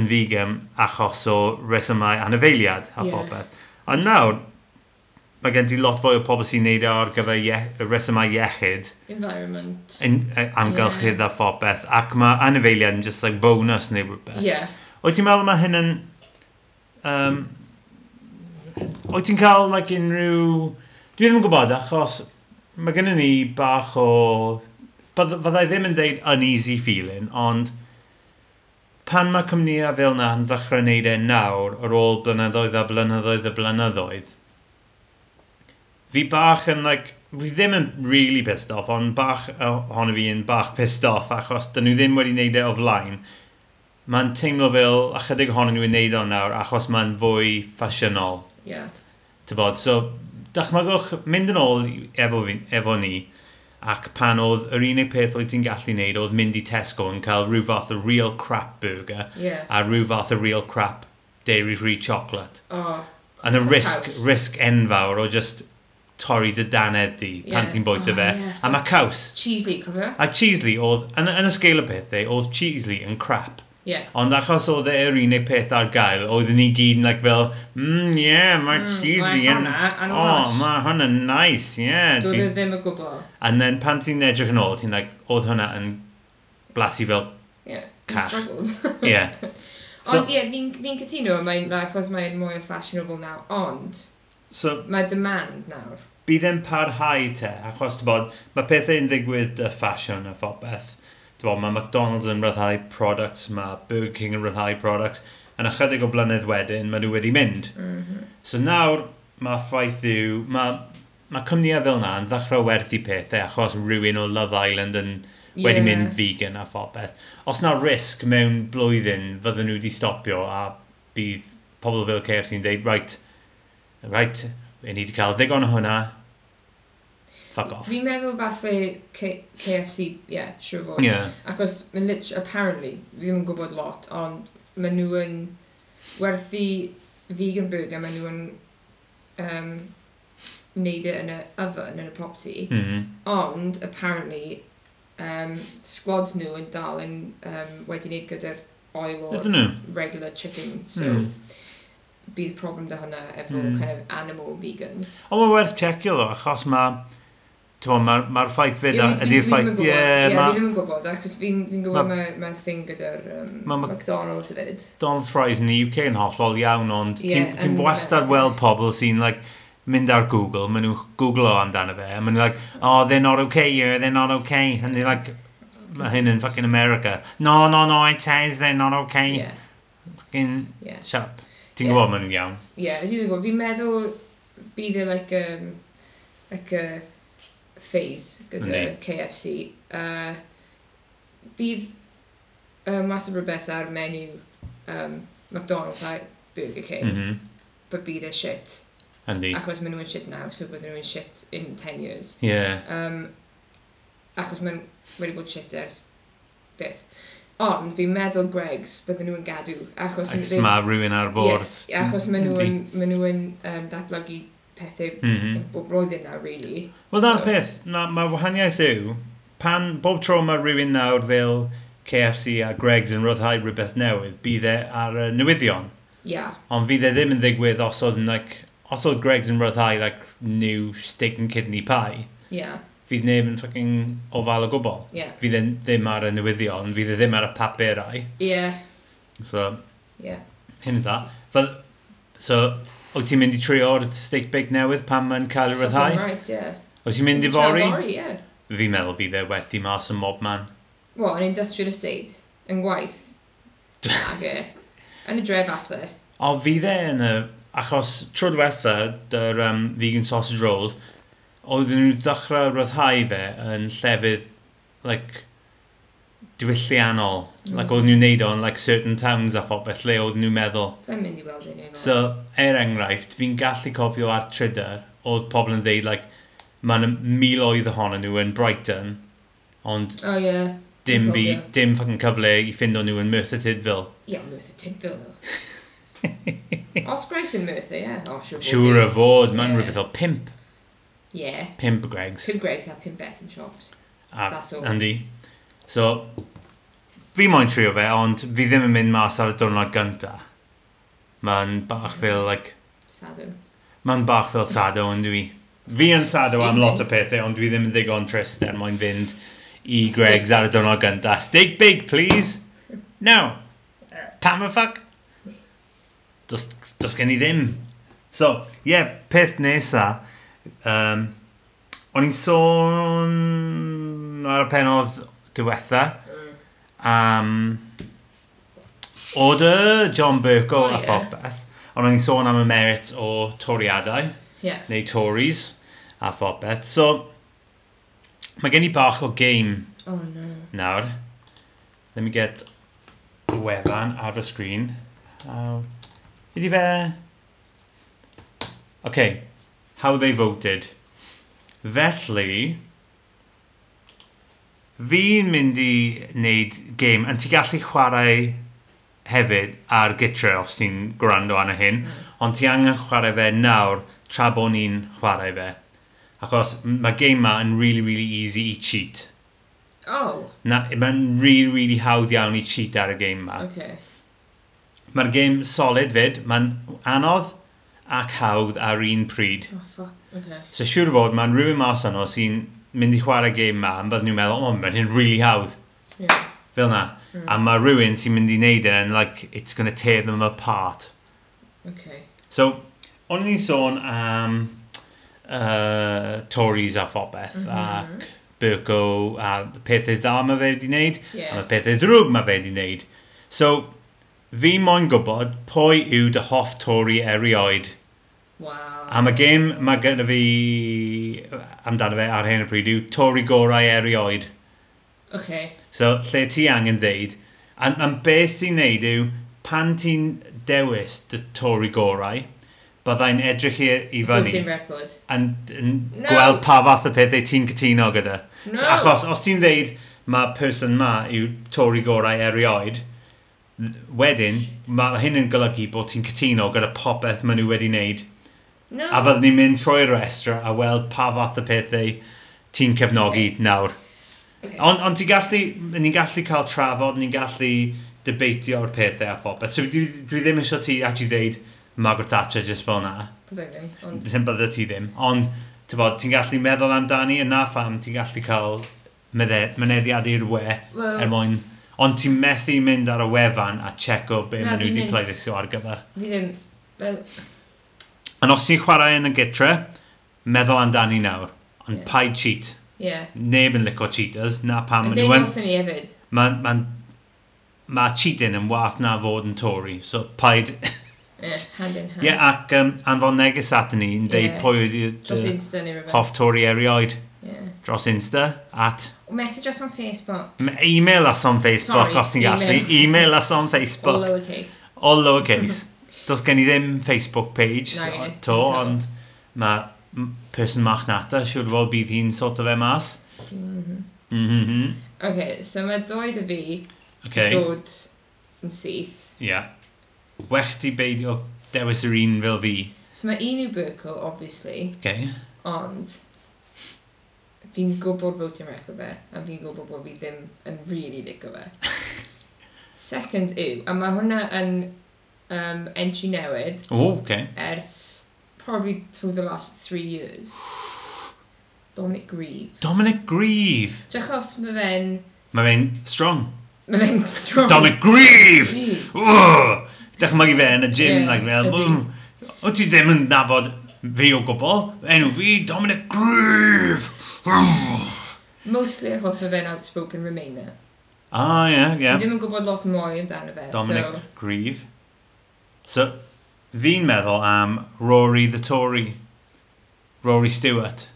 A: yn vegan achos o resymau anafeiliad a
C: Ie.
A: phobeth. A nawr, mae gen ti lot fwy o pobl sy'n neud e ar gyfer ie- y resymau iechyd
C: Environment.
A: yn yy, amgylchydd a phobeth ac mae anifeiliad yn just like bonus neu rhywbeth.
C: Ie.
A: Wyt ti'n meddwl mae hyn yn... Um, wyt ti'n cael like, unrhyw... Dwi ddim yn gwybod achos mae gennym ni bach o... bydd- Fyddai ddim yn deud uneasy feeling, ond pan mae cwmnïau fel na yn ddechrau wneud e nawr ar ôl blynyddoedd a blynyddoedd a blynyddoedd, fi bach yn, like, fi ddim yn really pissed off, ond bach ohono fi yn bach pissed off achos dyn nhw ddim wedi wneud e o flaen. Mae'n teimlo fel ychydig ohonyn nhw yn wneud o nawr achos mae'n fwy ffasiynol.
C: Ie.
A: Tybod, so dychmygwch mynd yn ôl i- efo, fi, efo ni ac pan oedd yr unig peth oedd ti'n gallu wneud oedd mynd i Tesco yn cael rhyw fath o real crap burger
C: Ie.
A: a rhyw fath o real crap dairy free chocolate.
C: O.
A: Yn y
C: House.
A: risg, risg enfawr o just torri dy danedd di pan
C: Ie.
A: ti'n bwyta
C: O,
A: fe.
C: ie.
A: A mae caws.
C: Cheesy, cofio?
A: A Cheesley oedd, yn, yn y sgil y pethau, oedd Cheesley yn crap.
C: Ie.
A: Ond achos oedd e'r unig peth ar gael, oedden ni gyd yn like fel, mmm, ie, yeah, mae
C: Mm,
A: Cheesley
C: mae
A: yn...
C: hwnna yn
A: O,
C: well."
A: mae hwnna'n nice, ie.
C: Doedd e
A: Yeah.
C: ddim y gwbl.
A: A then pan ti'n edrych yn ôl, ti'n like, oedd hwnna yn blasu fel,
C: Ie. he
A: Cash.
C: struggled.
A: ie. Yeah. So-
C: Ond ie, fi'n fi'n cytuno, mae'n achos mae'n mwy fashionable now, ond
A: So,
C: mae demand nawr.
A: bydd e'n parhau te, achos ti'n bod, mae pethau'n ddigwydd y ffasiwn a phobeth. Ti'n bod, mae McDonald's yn ryddhau products, mae Burger King yn ryddhau products, yn ychydig o blynedd wedyn, maen nhw wedi mynd. So nawr, mae ffaith yw, mae ma cwmnïau fel yna yn ddechrau werthu pethau achos rhywun o Love Island yn wedi
C: Ie.
A: mynd vegan a phobeth. Os na risg mewn blwyddyn, fydden nhw wedi stopio a bydd pobl fel KFC'n deud, right, right, i ni wedi cael digon o hwnna, fuck off.
C: Fi'n meddwl falle K- KFC, ie, yeah, siwr fod.
A: Yeah.
C: Achos, mae'n lit, apparently, fi ddim yn gwybod lot, ond maen nhw yn werthu vegan burger, maen nhw yn um, neud e yn y oven, yn y property.
A: Mm.
C: Ond, apparently, um, squads nhw yn dal yn um, wedi wneud gyda'r oil
A: Ydyn
C: o'r
A: nhw?
C: regular chicken, so
A: Hmm.
C: bydd problem dy hwnna efo
A: Hmm.
C: kind of animal vegans.
A: Ond mae'n werth checio ddo, achos mae... Mae'r ma, ma ma'r ffaith fyd,
C: Ie, fi- fi-
A: ydy'r
C: fi
A: ffaith...
C: ddim
A: Ie,
C: yn gwybod. Ie, fi
A: mae
C: ddim yn gwybod, achos fi'n fi gwybod
A: Ma-
C: mae ma thing gyda'r um,
A: Ma- ma-
C: McDonald's hefyd.
A: Donald's Fries yn y UK yn hollol iawn, ond
C: Ie,
A: ti'n- ti'n
C: yn
A: wastad
C: America.
A: weld pobl sy'n like, mynd ar Google, maen nhw'n googlo amdano fe, a maen nhw'n like, oh, they're not okay here, they're not okay, and they're like, mae hyn yn fucking America. No, no, no, it says they're not okay.
C: Ie,
A: Fucking
C: ie.
A: shut up. Ti'n
C: Ie.
A: gwybod maen nhw'n iawn.
C: Ie, ydyn nhw'n gwybod, fi'n meddwl bydd e like, um, like a phase gyda
A: Yndi.
C: KFC. Uh, bydd um, wastad rhywbeth ar menu um, McDonald's a Burger King, mm.
A: Mhm.
C: but bydd e shit.
A: Yndi.
C: Achos maen nhw'n shit now, so bydden nhw'n shit in 10 years.
A: Ie.
C: Um, achos mae'n wedi bod shit ers beth. Ond fi'n meddwl Greg's bydden nhw'n gadw. Achos
A: Ac
C: ddim-
A: mae rhywun ar bwrdd.
C: Ie, achos maen nhw
A: Yndi.
C: yn, maen nhw yn um, datblygu pethau
A: Mhm.
C: bob roedd yna, really.
A: Wel, na'r
C: So-
A: peth, na, mae wahaniaeth yw, pan bob tro mae rhywun nawr fel KFC a Greggs yn rhyddhau rhywbeth newydd, bydd e ar y newyddion.
C: Ia,
A: Ond fydd e ddim yn ddigwydd os oedd, yn, like, os oedd Greggs yn rhyddhau like, new steak and kidney pie,
C: ia,
A: fydd neb yn ffucking ofal o gwbl.
C: ia.
A: Fydd e ddim ar y newyddion, fydd e ddim ar y papurau.
C: Ia,
A: So,
C: ia.
A: hyn dda. Fel, so, wyt ti'n mynd i trio'r steak bake newydd pan mae'n cael ei rhyddhau?
C: Right, ia.
A: Wyt ti'n mynd i fori?
C: Fori, ia.
A: Fi'n meddwl bydd e werthu mas yn mob man.
C: Wel, yn industrial estate, yn gwaith. Ag e. Yn y dref atho.
A: O, fydd e yn y... Achos tro diwetha, dy'r um, vegan sausage rolls, oedden nhw ddechrau ryddhau fe yn llefydd, like, diwylliannol. Mm. Like, oedden nhw'n neud o'n, like, certain towns a phobeth ble oedden nhw'n meddwl.
C: Fe'n mynd i weld e, hyn efo.
A: So, er enghraifft, fi'n gallu cofio ar Trydar, oedd pobl yn dweud, like, mae'n miloedd ohonyn nhw yn Brighton, ond
C: O, ie.
A: dim,
C: Yn
A: bi,
C: cofio.
A: dim fucking cyfle i ffindo nhw yn Merthyr Tydfil.
C: Ia, Merthyr Tydfil, nhw. Os Greg's yn Merthyr, ie. O, siwr fod.
A: Siŵr o fod, mae'n
C: Ie.
A: rhywbeth o pimp,
C: Ie.
A: pimp Gregs.
C: Two Greg's a pum bet yn shops.
A: A,
C: That's all.
A: yndi. So, fi moyn trio fe, ond fi ddim yn mynd mas ar y diwrnod gynta. Mae'n bach fel, like,
C: Sadwn.
A: mae'n bach fel sado yn dwi. Fi yn sado am lot o pethau, ond dwi ddim yn ddigon trist er mwyn fynd i Greg's ar y diwrnod gynta. Steak big, please! No! Pam y ffuck? Does, does gen i ddim. So, ie, yeah, peth nesa. Um, o'n i'n sôn ar y penodd diwetha am order John Burko
C: O,
A: a
C: ie.
A: phopeth. Ond o'n i'n sôn am y merit o toriadau,
C: Ie.
A: neu Tories a phopeth. So, mae gen i bach o game
C: O, Oh, no.
A: nawr. Let me get wefan ar y sgrin. Uh, ydi fe... OK, how they voted. Felly, fi'n mynd i wneud game, yn ti gallu chwarae hefyd ar gytre os ti'n gwrando arno hyn, ond ti angen chwarae fe nawr tra bo ni'n chwarae fe. Achos m- mae game ma yn really, really easy i cheat.
C: O,
A: Na, mae'n really, really hawdd iawn i cheat ar y game ma.
C: okay.
A: Mae'r game solid fyd, mae'n anodd ac hawdd ar un pryd.
C: Oh, fuck. Okay.
A: So siŵr o fod, mae'n rhywun mas yno sy'n mynd i chwarae game ma, yn byddwn nhw'n meddwl, o, mae'n hyn really hawdd,
C: Yeah.
A: fel na. Mm. A mae rhywun sy'n mynd i wneud e, yn like, it's gonna tear them apart.
C: Okay.
A: So, o'n i'n sôn am uh, Tories a phobeth, mm -hmm. ac Burko, a pethau dda mae fe wedi wneud,
C: Ie.
A: a mae pethau ddrwg mae fe wedi wneud. So, fi moyn gwybod pwy yw dy hoff Tory erioed.
C: Wow.
A: A mae gêm mae gyda fi amdano fe ar hyn o bryd yw Tory gorau erioed.
C: okay.
A: So, lle ti angen ddeud, a, a beth sy'n neud yw, pan ti'n dewis dy Tory gorau, byddai'n edrych i, i fyny
C: Bwthyn record.
A: yn, yn
C: No.
A: gweld pa fath o pethau ti'n cytuno gyda.
C: No!
A: Achos, os ti'n ddeud mae person ma yw Tory gorau erioed, n- wedyn mae hyn yn golygu bod ti'n cytuno gyda popeth maen nhw wedi wneud.
C: no.
A: A fyddwn ni'n mynd trwy'r restra a weld pa fath o pethau ti'n cefnogi nawr.
C: Okay.
A: Ond on ti'n gallu, ni'n gallu cael trafod, ni'n gallu debeitio'r pethau a phobeth. So dwi, dwi ddim eisiau ti actually ddeud Margaret Thatcher just fel na.
C: Completely. Ond,
A: Ddim bydde ti ddim. Ond ti'n bod, ti'n gallu meddwl amdani yna pham, ti'n gallu cael medde- mynediad i'r we
C: Wel-
A: er mwyn... Ond ti'n methu mynd ar y wefan a checo be maen
C: Na,
A: nhw
C: fi'n
A: wedi
C: mynd.
A: pleidleisio ar gyfer.
C: fi ddim... Well,
A: Ond os ti'n chwarae yn y gytre, meddwl amdani nawr. Ond
C: Ie.
A: paid cheat.
C: yeah.
A: Neb yn licio cheaters, na pam
C: Yn
A: maen nhw
C: dweud
A: yn...
C: wrthyn ni hefyd.
A: Mae ma, ma cheating yn wath na fod yn Tory, so paid...
C: Yeah, hand in
A: Ie,
C: hand.
A: yeah, ac um, anfon neges at ni yn deud
C: Ie.
A: pwy ydy'r
C: Dros
A: dy
C: Insta neu rhywbeth.
A: hoff Tory erioed.
C: Yeah.
A: dros Insta at
C: Message us on Facebook.
A: m- email us on Facebook
C: Sorry,
A: os ti'n gallu
C: email.
A: email us on
C: Or
A: Facebook
C: lowercase.
A: all lowercase does gen i ddim Facebook page
C: Nage,
A: o- to
C: eto.
A: ond mae m- person mach nata siwr fod bydd hi'n sort of mas
C: Mhm.
A: mhm
C: Okay, so mae doedd y fi
A: ok
C: dod yn syth.
A: yeah. wech ti beidio dewis yr un fel fi
C: So mae un yw Burkle, obviously,
A: ok
C: ond fi'n gwybod bod fi'n record fe, a fi'n gwybod bod fi ddim yn really licio fe. Second yw, a mae hwnna yn um, entry newid
A: o ok
C: ers probably through the last three years. Dominic Grieve.
A: Dominic Grieve
C: Jachos mae fe'n...
A: mae fe'n strong
C: Mae fe'n strong.
A: Dominic Grieve
C: Grieve.
A: Ww! Dychmygu fe yn y gym,
C: Ie,
A: like fel,
C: ydi.
A: "Mm, o ti ddim yn nabod fi o gwbl, enw fi Dominic Grieve! Ww!"
C: Mostly achos mae fe'n outspoken Remainer.
A: Ah, ie,
C: Yeah. Fi
A: ie.
C: ddim yn gwybod lot mwy amdano fe.
A: Dominic Grieve. So, fi'n meddwl am Rory the Tory. Rory Stewart.
C: So...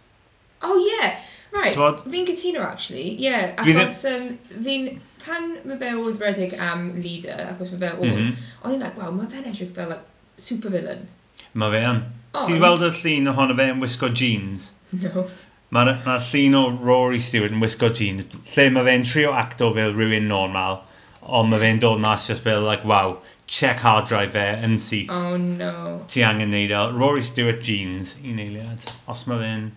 C: Oh yeah. Right.
A: T'mod?
C: Fi'n gytuno actually. Yeah.
A: Fi ddim-
C: Achos um, fi'n... Pan mae fe oedd redig am leader, achos mae fe oedd... Mm
A: Mhm.
C: -hmm. O'n i'n like, wow, mae fe'n edrych fel like, super villain.
A: Mae fe yn.
C: Ond...
A: Ti 'di weld y llun ohono fe yn wisgo jeans?
C: No.
A: Mae'r ma llun o Rory Stewart yn wisgo jeans, lle mae fe'n trio acto fel rhywun normal, ond mae fe'n dod mas just fel, like, wow, check hard drive fe yn syth.
C: Oh no.
A: Ti angen neud o. Rory Stewart jeans, un eiliad. Os mae fe'n...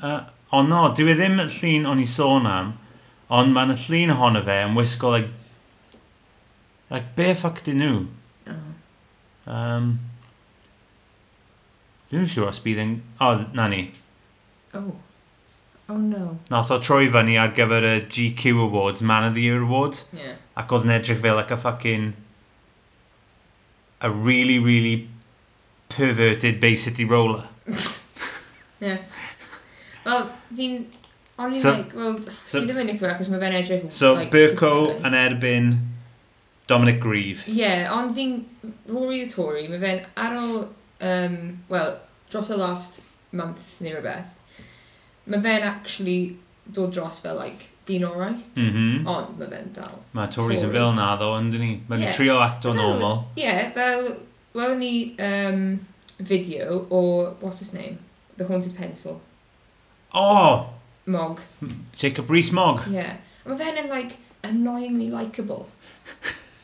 A: Uh, o no, dwi e ddim y llun o'n i sôn am, ond mae'n y llun ohono fe yn wisgo, like... Like, be ffuck dyn nhw?
C: Oh.
A: Um, dwi'n siŵr os bydd yn... O, oh, na ni.
C: Oh. Oh no.
A: Nath o troi fyny ar gyfer y GQ Awards, Man of the Year Awards,
C: Yeah.
A: ac oedd yn edrych fel like a fucking... a really, really perverted Bay City roller.
C: Yeah. Wel, fi'n... O'n i'n
A: So-
C: like, wel,
A: so-
C: fi ddim yn licio fe, achos mae fe'n edrych...
A: So,
C: like,
A: Burko
C: supervillain.
A: yn erbyn Dominic Grieve.
C: Ie, yeah, ond fi'n Rory the Tory, mae fe'n ar ôl, um, wel, dros y last month neu rhywbeth, mae fe'n actually dod dros fel, like, dyn alright,
A: Mhm.
C: ond mae fe'n dal.
A: Mae Tories yn
C: Tory.
A: fel na ddo, yndyn ni? Mae'n
C: Ie.
A: trio acto normal.
C: Ie, yeah, fel, welwn ni um, video o, what's his name? The Haunted Pencil.
A: Oh!
C: Mog,
A: Jacob Rees-Mogg.
C: ie. Yeah. Mae fe'n yn, like, annoyingly likeable.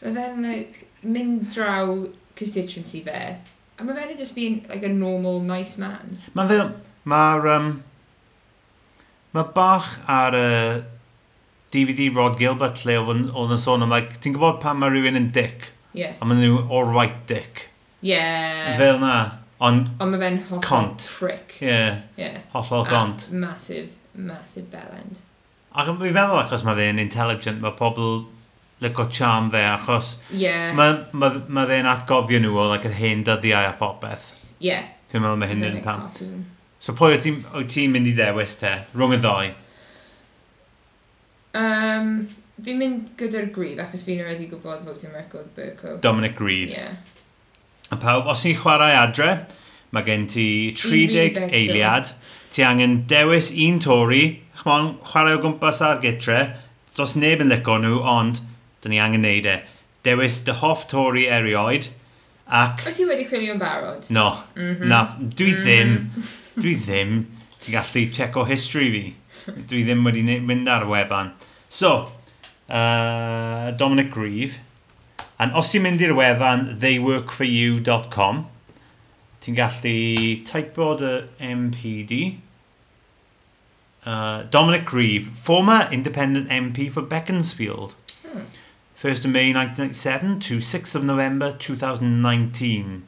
C: Mae fe'n, like, mynd draw constituency fe, a mae fe'n just being, like, a normal, nice man.
A: Mae fel... Mae'r... Um, mae bach ar y DVD Rod Gilbert lle oedd yn oedd yn sôn am, like, ti'n gwybod pan mae rhywun yn dick?
C: Yeah.
A: A maen nhw all right dick.
C: Yeah.
A: Fel na. Ond,
C: Ond mae fe'n hollol
A: Cont.
C: prick.
A: ie, yeah,
C: Yeah.
A: hollol
C: A
A: gont.
C: Massive, massive bellend.
A: Ac fi'n meddwl achos mae fe'n intelligent, mae pobl lygo charm fe achos
C: Yeah.
A: mae ma, ma fe'n atgofio nhw o like, yr hen dyddiau a phobeth.
C: yeah.
A: Ti'n meddwl mae hyn yn
C: Fe'n
A: pam.
C: cartoon.
A: So pwy wyt ti'n ti mynd i ddewis te? Rhwng y ddoi.
C: Um, fi'n mynd gyda'r grif achos fi'n already gwybod fod yn record Burko.
A: Dominic Grieve.
C: Yeah.
A: A pawb, os ti'n chwarae adre, mae gen ti
C: rili
A: 30
C: bell.
A: eiliad. Ti angen dewis un Tory. Chmon, chwarae o gwmpas ar gytre. Does neb yn licio nhw, ond dyn ni angen neud e. Dewis dy hoff Tory erioed. Ac,
C: Wyt ti wedi chwilio'n barod?
A: no,
C: Mhm.
A: na, dwi ddim,
C: Mhm.
A: dwi ddim, ti'n gallu checo history fi. Dwi ddim wedi ne- mynd ar wefan. So, uh, Dominic Grieve, and os ti'n mynd i'r wefan theyworkforyou.com, ti'n gallu typod y MPD. Uh, Dominic Grieve, former independent MP for Beaconsfield.
C: Hmm.
A: 1st of May 1997 to 6th of November 2019.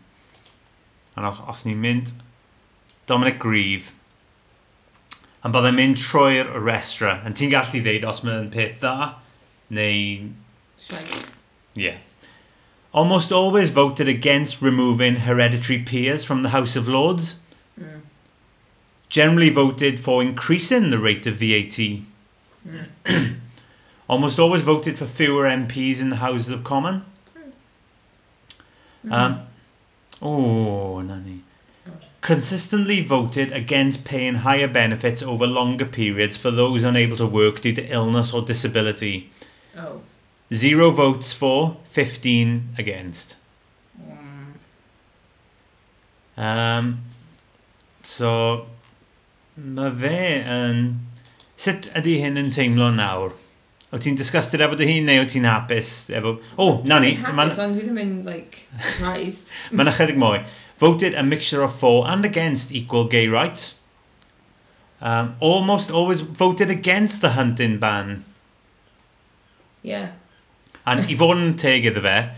A: And os os ni'n mynd, Dominic Grieve. And byddai'n mynd trwy'r restra. And ti'n gallu ddeud os mae'n peth dda, neu Mm.
C: Shite.
A: yeah. Almost always voted against removing hereditary peers from the House of Lords.
C: Mm.
A: Generally voted for increasing the rate of VAT. Almost always voted for fewer MPs in the House of Common. Um, oh, nanny. Consistently voted against paying higher benefits over longer periods for those unable to work due to illness or disability.
C: Oh.
A: Zero votes for, 15 against.
C: Mm.
A: Um, so, mae fe yn... Sut ydy hyn yn teimlo nawr? O ti'n disgusted efo dy hun neu o ti'n hapus efo... O, oh, na ni,
C: Dwi'n
A: mae'n
C: hapus, ond dwi ddim yn, like, surprised.
A: ma ychydig mwy. Voted a mixture of for and against equal gay rights. Um, almost always voted against the hunting ban.
C: Yeah.
A: And i fod yn teg iddo fe,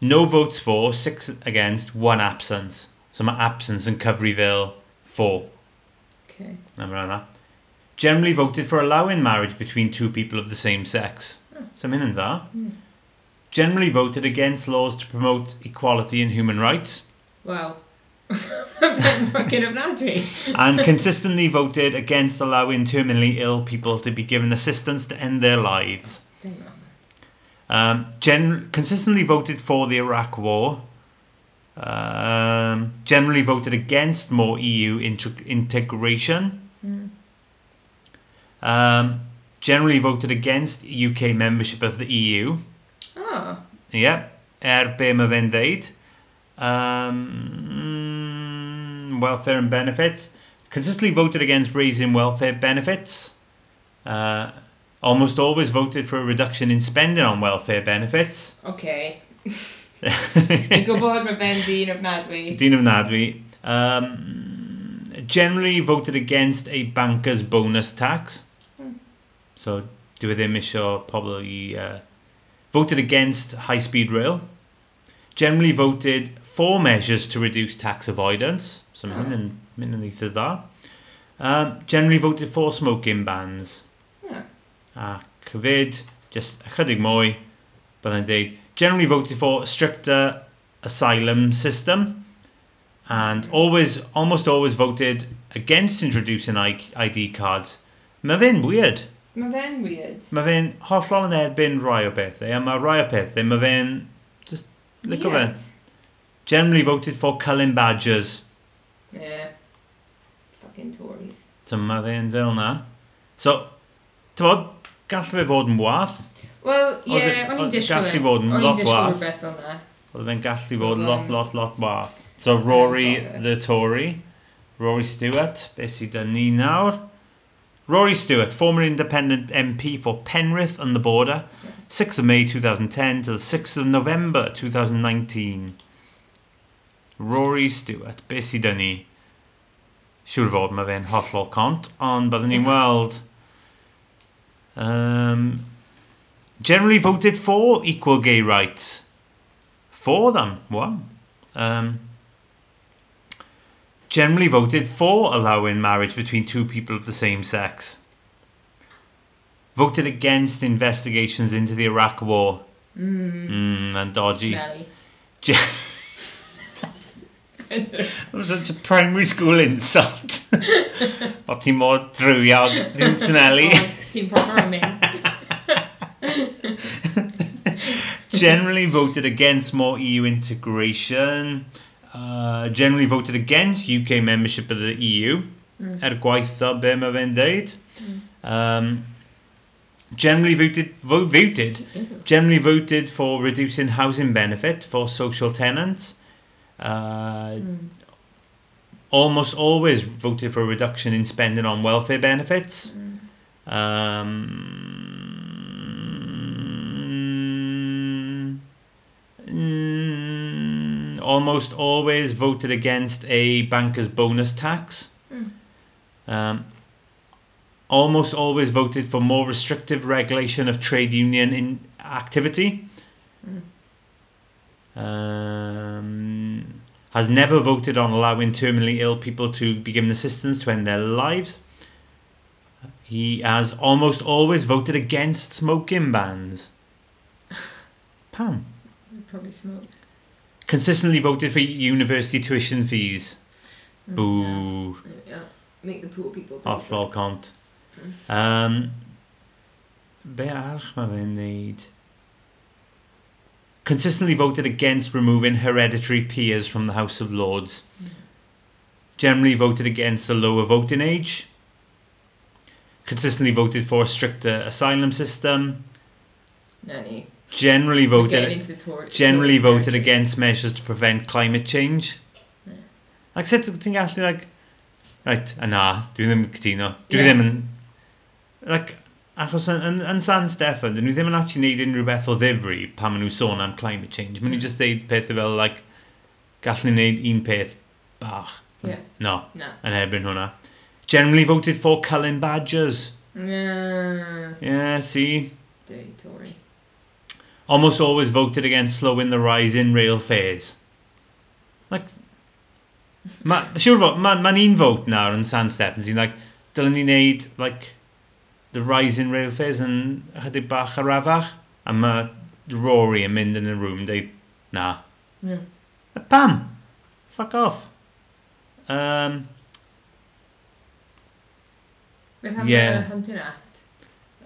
A: no votes for, six against, one absence. So mae absence yn cyfri fel four.
C: Okay.
A: Remember that? Generally voted for allowing marriage between two people of the same sex. So mae'n yn dda.
C: Hmm.
A: Generally voted against laws to promote equality and human rights.
C: Wow. Fucking ofnadwy.
A: And consistently voted against allowing terminally ill people to be given assistance to end their lives.
C: Dim ond.
A: Um, gen- consistently voted for the Iraq War. Um, generally voted against more EU integ- integration.
C: Mm.
A: Um, generally voted against UK membership of the E EU.
C: Oh.
A: Yep. Er be mae fe'n deud. Um, mm, welfare and benefits. Consistently voted against raising welfare benefits. Uh, almost always voted for a reduction in spending on welfare benefits.
C: Okay. Dwi'n gwybod mae fe'n dyn ofnadwy.
A: Dean of Nadwi. Um, generally voted against a banker's bonus tax.
C: Hmm.
A: So, do they miss your probably uh, voted against high speed rail? Generally voted for measures to reduce tax avoidance. So,
C: Oh.
A: min underneath of that. Um, generally voted for smoking bans.
C: Yeah.
A: Ac fyd, just ychydig mwy, byddai'n deud, generally voted for stricter asylum system and always, almost always voted against introducing I- ID cards. Mae fe'n weird.
C: Mae fe'n weird.
A: Mae fe'n hollol yn erbyn rai o bethau, a mae rai o pethau, mae fe'n... Just, look at
C: Weird.
A: fe. Generally voted for culling badgers.
C: Yeah. Fucking Tories.
A: So mae fe'n fel na. So, tyfod, gall fe fod yn wath,
C: Wel, ie,
A: Oh, it- oedd
C: o'n i'n
A: y
C: disgwyl.
A: gallu fod yn
C: o'n i'n
A: lot
C: disgwyl
A: wath.
C: rhywbeth fel 'na.
A: Oedd fe'n gallu
C: So
A: fod lot,
C: then-
A: lot, lot bar. So Rory
C: Okay.
A: the Tory, Rory Stewart, beth sydd yn ni nawr? Rory Stewart, former independent MP for Penrith and the border, 6th of May 2010 to the 6th of November 2019. Rory Stewart, beth sydd yn ni? Siwr fod mae fe'n hollol cont, ond byddwn ni'n weld. Um, generally voted for equal gay rights. For them, wow. Um, generally voted for allowing marriage between two people of the same sex. Voted against investigations into the Iraq War.
C: Mm,
A: Mm, and dodgy.
C: smelly.
A: Gen- That was such a primary school insult. o ti mor drwyog, dim smelly.
C: Oh, Ti'n proper o'n i.
A: generally voted against more EU integration. Uh, generally voted against UK membership of the EU.
C: Mm.
A: Er gwaith o be mae fe'n deud. Um, generally voted, vo- voted,
C: Ew.
A: generally voted for reducing housing benefit for social tenants. uh,
C: Mm.
A: almost always voted for a reduction in spending on welfare benefits.
C: Mm.
A: Um, mm, almost always voted against a banker's bonus tax.
C: Mm.
A: Um, almost always voted for more restrictive regulation of trade union in activity.
C: Mm.
A: Um, has never voted on allowing terminally ill people to be given assistance to end their lives. He has almost always voted against smoking bans. Pam
C: You probably smoked.
A: consistently voted for university tuition fees. Boo.
C: Mm, Yeah. Hmm. yeah. Make the poor people pay for
A: Hollol cont. Um, be arch mae fe'n neud. Consistently voted against removing hereditary peers from the House of Lords. Generally voted against the lower voting age. Consistently voted for a stricter asylum system.
C: it. Nanny.
A: Generally
C: We're getting
A: voted
C: into the tor-
A: generally
C: Tory
A: voted
C: territory.
A: against measures to prevent climate change.
C: Yeah.
A: Ac sut ti'n gallu, like, right, a na, dwi ddim yn cytuno. Dwi
C: Yeah.
A: ddim yn, like, achos yn, yn, yn San Steffan, dyn nhw ddim yn actually neud unrhyw beth o ddifri pan maen nhw sôn am climate change. Maen nhw just deud pethau fel, like, gallwn ni neud un peth bach.
C: Yeah.
A: No,
C: Na.
A: yn erbyn hwnna. Generally voted for Cullen Badgers.
C: Na.
A: Yeah, see.
C: Dirty Tory.
A: almost always voted against slowing the rise in rail fares. Like, ma, siwr fod, mae'n ma un vote nawr yn San Steffan sy'n like, dylen ni wneud, like, the rise in rail fares yn chydig bach arafach, a mae Rory yn mynd yn y room yn deud, na.
C: Yeah.
A: Pam! Fuck off. Um,
C: Beth am
A: Yeah.
C: y Hunting Act?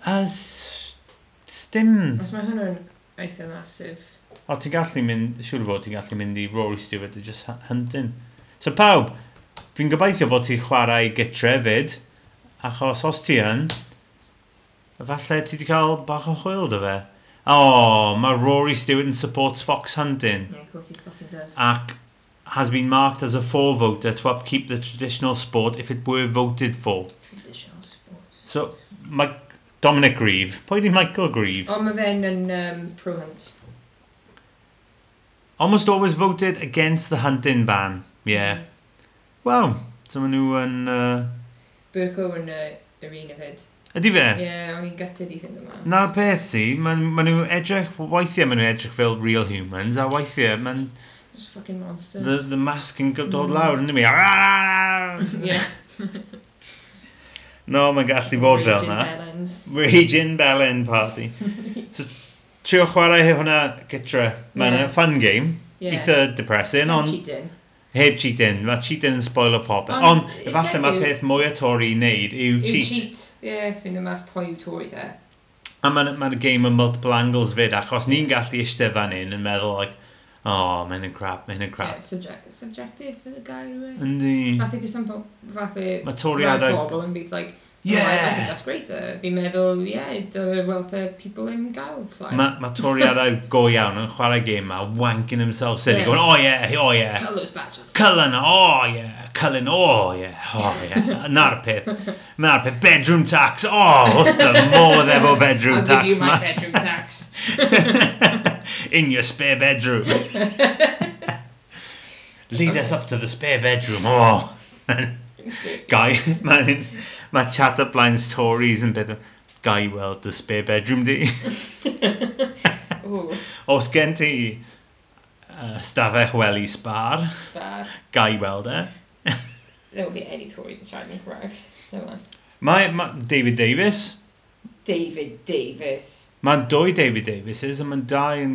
A: as... Stim.
C: Os mae hwnna'n eitha masif.
A: O, ti'n gallu mynd, siŵr o fod ti'n gallu mynd i Rory Stewart a just hu- hunting. So pawb, fi'n gobeithio fod ti'n chwarae gytrefyd, achos os ti yn, falle ti wedi cael bach o hwyl dy fe. O, oh, mae Rory Stewart yn supports fox hunting,
C: Yeah, of course he fucking does.
A: ac has been marked as a for voter to upkeep the traditional sport if it were voted for.
C: Traditional sport.
A: So, mae Dominic Grieve, pwy di Michael Grieve?
C: O, mae fe'n yn um, pro-hunt.
A: Almost always voted against the hunting ban. Yeah. Wow. So maen nhw yn... Uh,
C: Burko yn y yr un hefyd.
A: ydy fe?
C: Ie, yeah, o'n i'n gutted i ffind yma.
A: Na'r peth si, maen ma nhw edrych, weithiau maen nhw edrych fel real humans, a weithiau maen
C: Just fucking monsters.
A: the, the mask yn go- dod
C: Mm.
A: lawr yn mi.
C: yeah.
A: No, mae'n gallu bod fel
C: Raging
A: na.
C: felons.
A: Raging Belen Party. so, trio chwarae hwnna gytre. Mae'n
C: Yeah.
A: yeah. fun game.
C: Yeah.
A: Eitha depressing,
C: Not
A: ond
C: cheating.
A: heb cheating. Mae cheating yn spoiler pop.
C: Ond,
A: Ond,
C: i
A: falle mae'r
C: heddiw-
A: peth mwy o Tory i wneud yw
C: Yw
A: cheat.
C: cheat. Ie, yeah, ffind y mas pwy yw Tory te.
A: A mae'n ma game yn multiple angles fyd, achos ni'n gallu eistedd fan hyn yn meddwl, like, oh, mae'n yn crap, mae'n yn
C: Yeah,
A: crap.
C: subject, subjective for the guy who... Uh,
A: Yndi.
C: Fath i gysy'n fath i...
A: Mae toriadau-
C: Pobl yn byd, like, yeah. oh, I, I think
A: Yeah!
C: that's great. Uh, fi'n meddwl, yeah, dyma welfare people yn gael llai.
A: Mae ma toriadau go iawn yn chwarae game ma, wanking themselves silly,
C: Yeah.
A: going, oh yeah, oh yeah.
C: Colours badges.
A: Cullen, oh yeah. Cullen, oh yeah, oh yeah. Na'r peth. Na'r peth. Bedroom tax, oh, wrth y modd efo bedroom
C: I'll
A: tax
C: give you my
A: ma.
C: bedroom tax.
A: In your spare bedroom. Lead us up to the spare bedroom. Oh. Guy, mae ma chat up lines Tories yn beth. Guy weld the spare bedroom di.
C: Ooh,
A: Os gen ti uh, stafell wely sbar,
C: bad.
A: Guy weld e.
C: There won't be any Tories in Shining Crag. Never mind.
A: Mae ma David Davis.
C: David Davis.
A: Mae'n dwy David Davises a mae'n dau yn...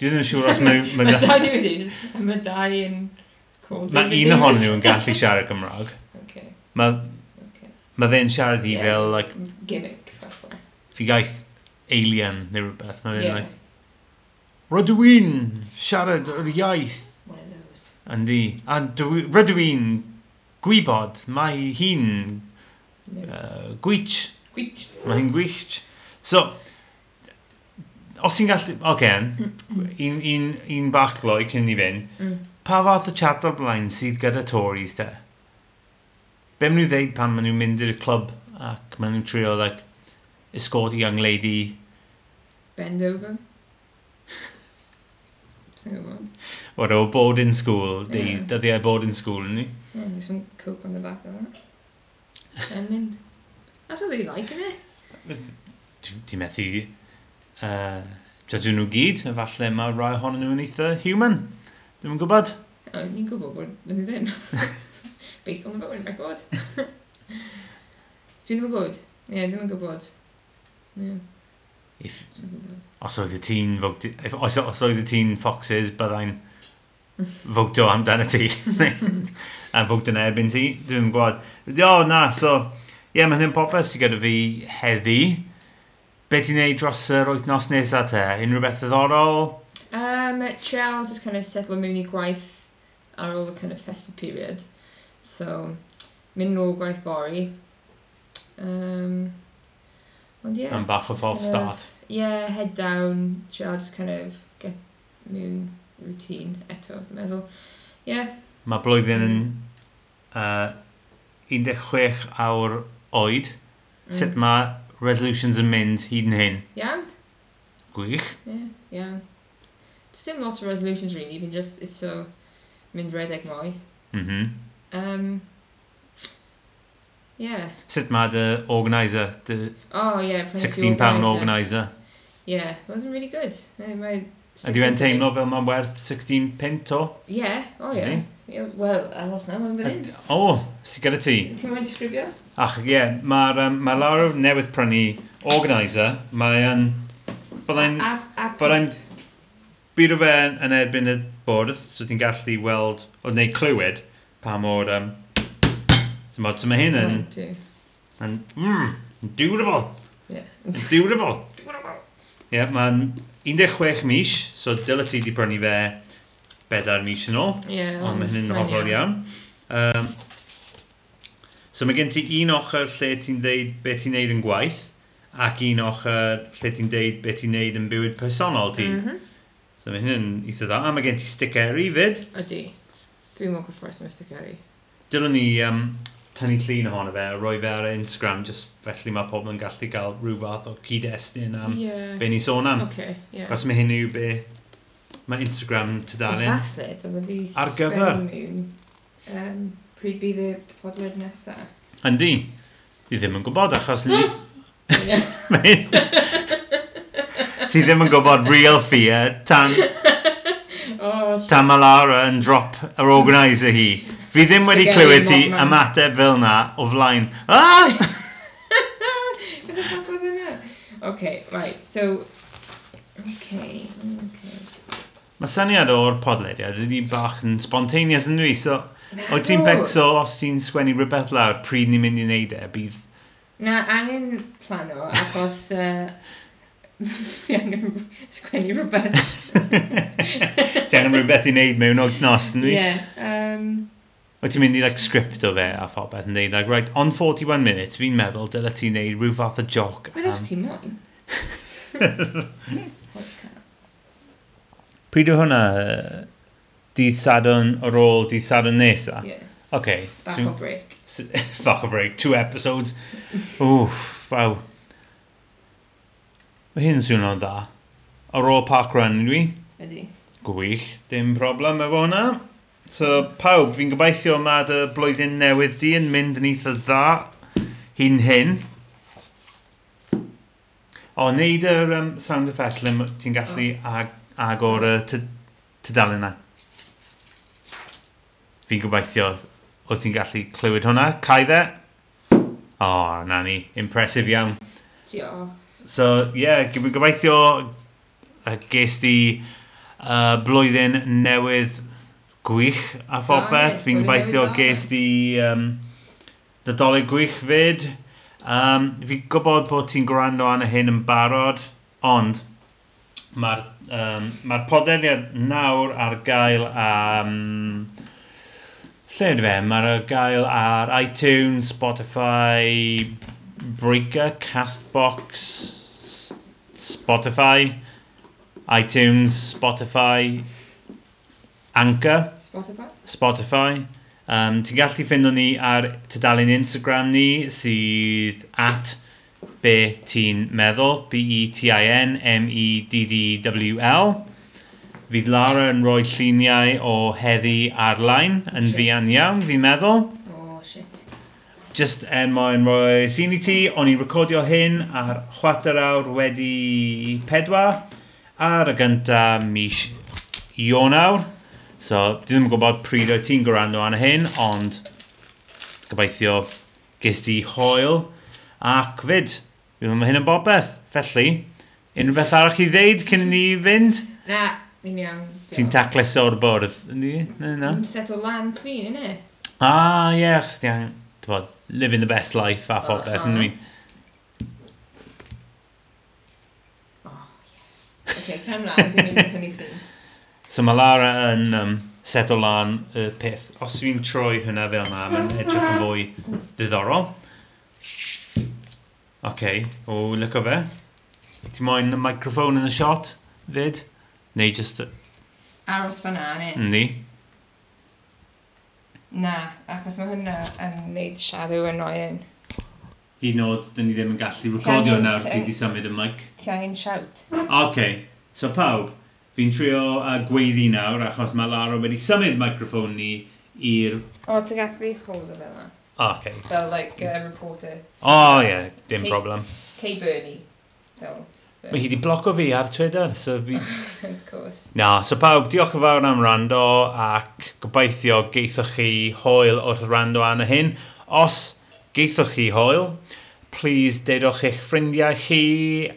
A: Dwi ddim yn siŵr os mae...
C: Mae dau
A: Mae
C: David Davis. A mae dau yn... called
A: ma
C: David
A: un ohonyn
C: Davis.
A: nhw yn gallu siarad Cymraeg.
C: Okay,
A: Mae
C: okay.
A: ma fe'n siarad i
C: Ie.
A: fel like,
C: Gimmick, falle.
A: iaith alien neu rhywbeth. Mae fe'n
C: Yeah,
A: like, rydw i'n siarad yr iaith
C: one of those.
A: Yndi. A dwi- rydw i'n gwybod mae hi'n uh, gwych.
C: Gwitch.
A: Mae hi'n gwych. So, os ti'n gallu... Oce, okay, un, un, un bach gloi cyn i fynd.
C: Mm.
A: pa fath o chat o'r blaen sydd gyda Tories te? Be maen nhw'n ddeud pan maen nhw'n mynd i'r clwb ac maen nhw'n trio like, escort a young lady
C: Bend over. Sa'n gwybod.
A: or o boarding school, yeah.
C: Ie.
A: dyddiau boarding school ni.
C: Yeah, there's some coke on the back of that. And mint. That's what they like, isn't it?
A: Dwi di methu uh, judge nhw gyd, efallai mae rai ohonyn nhw'n eitha human. Dwi'n gwybod.
C: Oh, ni'n gwybod bod yn ddim. Based on the voting record. Dwi ddim yn gwybod. Ie, yeah, ddim yn gwybod. Ie,
A: If,
C: ddim yn gwybod.
A: os oedd y tîn fwgdi, if, os, os oedd y tîn Foxes, byddai'n fwgdo amdano ti. a fwgdo yn erbyn ti, dwi'n gwybod. O, na, so, ie, yeah, mae hynny'n popeth sydd gyda fi heddi. Be ti'n neud dros yr wythnos nesaf te? Unrhyw beth ddiddorol?
C: Um, Chell just kind of settled mewn i gwaith ar ôl y kind of festive period. So, mynd nôl gwaith bori. Um, ond ie.
A: Yeah. Am bach o false
C: Ie.
A: start.
C: Yeah, head down, try just kind of get mewn routine eto, fi'n meddwl. Yeah,
A: Mae blwyddyn yn uh, 16 awr oed.
C: Mm.
A: Sut mae resolutions yn mynd hyd yn hyn?
C: iawn,
A: Gwych.
C: yeah, iawn. Does dim lot o resolutions really, you can just, it's so, mynd redeg mwy.
A: Mm -hmm.
C: Um, yeah.
A: Sut mae dy organiser, dy
C: Oh, yeah. press the
A: £16 pound
C: organiser.
A: organiser?
C: Yeah, it wasn't really good. I my
A: A dwi'n teimlo fel mae'n werth 16 pint o?
C: Yeah, oh yeah.
A: Really?
C: yeah well, I lost now, I'm fan hyn.
A: O, sy'n gyda ti?
C: Ti'n mynd i sgrifio?
A: Ach, ie, yeah, mae'r um, ma lawr o newydd prynu organiser, mae'n... Byddai'n...
C: A- a-
A: Byddai'n... Bydd o fe yn erbyn y bwrdd, so ti'n gallu weld, o neu clywed, pa mor... Um, so mae so ma hyn yn...
C: One, two.
A: yn mm, yn durable,
C: Yeah.
A: yn durable. Ie, yeah, mae'n 16 mis, so dyle ti di prynu fe bedair mis yn ôl.
C: Yeah.
A: Ond mae hynny'n
C: mae'n
A: hollol iawn. Um, so mae gen ti un ochr lle ti'n deud beth ti'n neud yn gwaith, ac un ochr lle ti'n deud beth ti'n neud yn bywyd personol ti. Mm -hmm.
C: Mhm.
A: So mae hynny'n eitha dda. A mae gen ti sticeri fyd.
C: Ydy. Dwi'n mwyn gwerthfawr sy'n mystic Harry.
A: Dylwn ni um, tynnu llun ohono fe, a roi fe ar Instagram, just felly mae pobl yn gallu cael rhyw fath o cyd-destun am
C: Ie.
A: be ni sôn am.
C: Oce, ie.
A: Achos mae hynny yw be mae Instagram tydalen.
C: Ond falle, dyle fi
A: Ar gyfer.
C: sgwennu mewn, yym, Um, pryd bydd y podled nesa.
A: Yndi, fi ddim yn gwybod achos ni...
C: Ie.
A: Mae- Ti ddim yn gwybod real fear tan,
C: O, Oh, shit.
A: tan mae Lara yn drop yr organiser hi. Fi ddim wedi
C: Spaghetti
A: clywed ti
C: modman.
A: ymateb fel na o flaen. Ah!
C: Beth y fuck oedd hwnna? Oce, right, so... Oce, oce.
A: Mae syniad o'r podlediad ydy bach yn spontaneous yn dwi, so... Oed ti'n
C: No.
A: becso os ti'n sgwennu rhywbeth lawr pryd ni'n mynd i wneud e, bydd...
C: Na, angen plano, achos... yy, Fi angen sgwennu rhywbeth.
A: Ti angen rhywbeth i wneud mewn wythnos, yn dwi?
C: Ie. yym,
A: Wyt ti'n mynd i like, script o fe a phobeth yn dweud, like, right, on 41 minutes, fi'n meddwl dylai ti wneud rhyw fath o joc
C: Wel, os ti moyn.
A: Pryd yw hwnna? yy, Dydd Sadwn ar ôl dydd Sadwn nesa?
C: Ie,
A: Okay.
C: back
A: so-
C: o break.
A: so- fuck a break. Two episodes. Oof, wow. Mae hyn swnio'n dda. Ar ôl park run, dwi?
C: Ydy.
A: Gwych. Dim problem efo hwnna. So, pawb, fi'n gobeithio mae dy blwyddyn newydd di yn mynd yn eitha dda hyn hyn. O, neud yr um, sound effect le ma- ti'n gallu ag agor y ty- tudalen na. Fi'n gobeithio oedd ti'n gallu clywed hwnna. Cai dde? O, na ni. Impresif iawn.
C: Diolch.
A: So, ie, yeah, fi'n gobeithio uh, ges di uh, blwyddyn newydd gwych a phobeth.
C: ie,
A: Fi'n
C: blwyddyn
A: gobeithio
C: newydd da.
A: ges di um, nadolig gwych fyd. Um, fi'n gwybod bod ti'n gwrando arno hyn yn barod, ond mae'r um, ma podeliad nawr ar gael am... Lle ydy fe? Mae'r ar gael ar iTunes, Spotify, Breaker, Castbox, Spotify, iTunes, Spotify, Anchor.
C: Spotify?
A: Spotify. Um, ti'n gallu ffeindio ni ar tydalun Instagram ni sydd at be ti'n meddwl, E B-E-T-I-N-M-E-D-D-W-L. Fydd Lara yn rhoi lluniau o heddi ar-line yn
C: Shit.
A: fuan iawn, fi'n meddwl.
C: Oh, shit.
A: Just er mwyn rhoi sy'n i ti, o'n i'n recordio hyn ar chwarter awr wedi pedwar ar y gynta mis Ionawr. So, dwi ddim yn gwybod pryd oedd ti'n gwrando ar hyn, ond gobeithio ges ti hoel ac fyd. Dwi'n meddwl mae hyn yn bobeth. Felly, unrhyw beth arall i ddeud cyn i ni fynd?
C: Na, fi'n iawn.
A: Ti'n tacles o'r bwrdd, yndi? Na, na.
C: Yn set o lan clean, innit?
A: Ah, ie, achos ti angen, ti'n bod, living the best life a phobeth, uh
C: Uh-huh.
A: -huh.
C: Okay, cam mlaen, dwi'n mynd i tynnu llun.
A: So mae Lara yn um, set o lan y peth. Os fi'n troi hwnna fel yna, mae'n edrych yn fwy ddiddorol. OK, o, lyco fe. Ti moyn y microphone yn y shot, fyd? Neu just...
C: Aros fan na, innit?
A: Ni.
C: Na, achos mae hwnna yn gwneud shadow annoying.
A: Hyd yn oed, dyn ni ddim yn gallu
C: recordio
A: recordio
C: angen-
A: nawr,
C: nawr,
A: ti
C: ti
A: di symud y mic.
C: Ti angen shout.
A: OK, so pawb, fi'n trio uh, gweiddi nawr achos mae Lara wedi symud microphone ni i'r...
C: O, ti gallu hold o fel na.
A: OK.
C: Fel, like, uh, reporter.
A: O oh, ie, yeah, dim
C: Hey.
A: problem.
C: Kay Burney. Fel.
A: Mae hi wedi bloco fi ar Twitter, so fi
C: of course.
A: Na, so pawb, diolch yn fawr am rando ac gobeithio geithoch chi hoel wrth rando arno hyn. Os geithoch chi hoel, please deudwch eich ffrindiau chi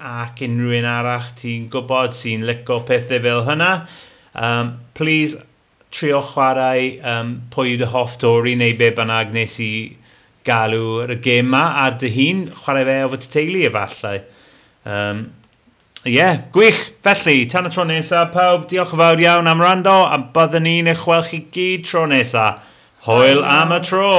A: ac unrhyw un arall ti'n gwybod sy'n licio pethau fel hynna. Um, please trio chwarae um, pwy dy hoff dori neu be bynnag nes i galw'r gêm ma ar dy hun, chwarae fe efo ty teulu efallai. Um, Ie, yeah, gwych. Felly, tan y tro nesaf, pawb, diolch yn fawr iawn am rando, a byddwn ni'n eich weld chi gyd tro nesaf. Hwyl am y tro!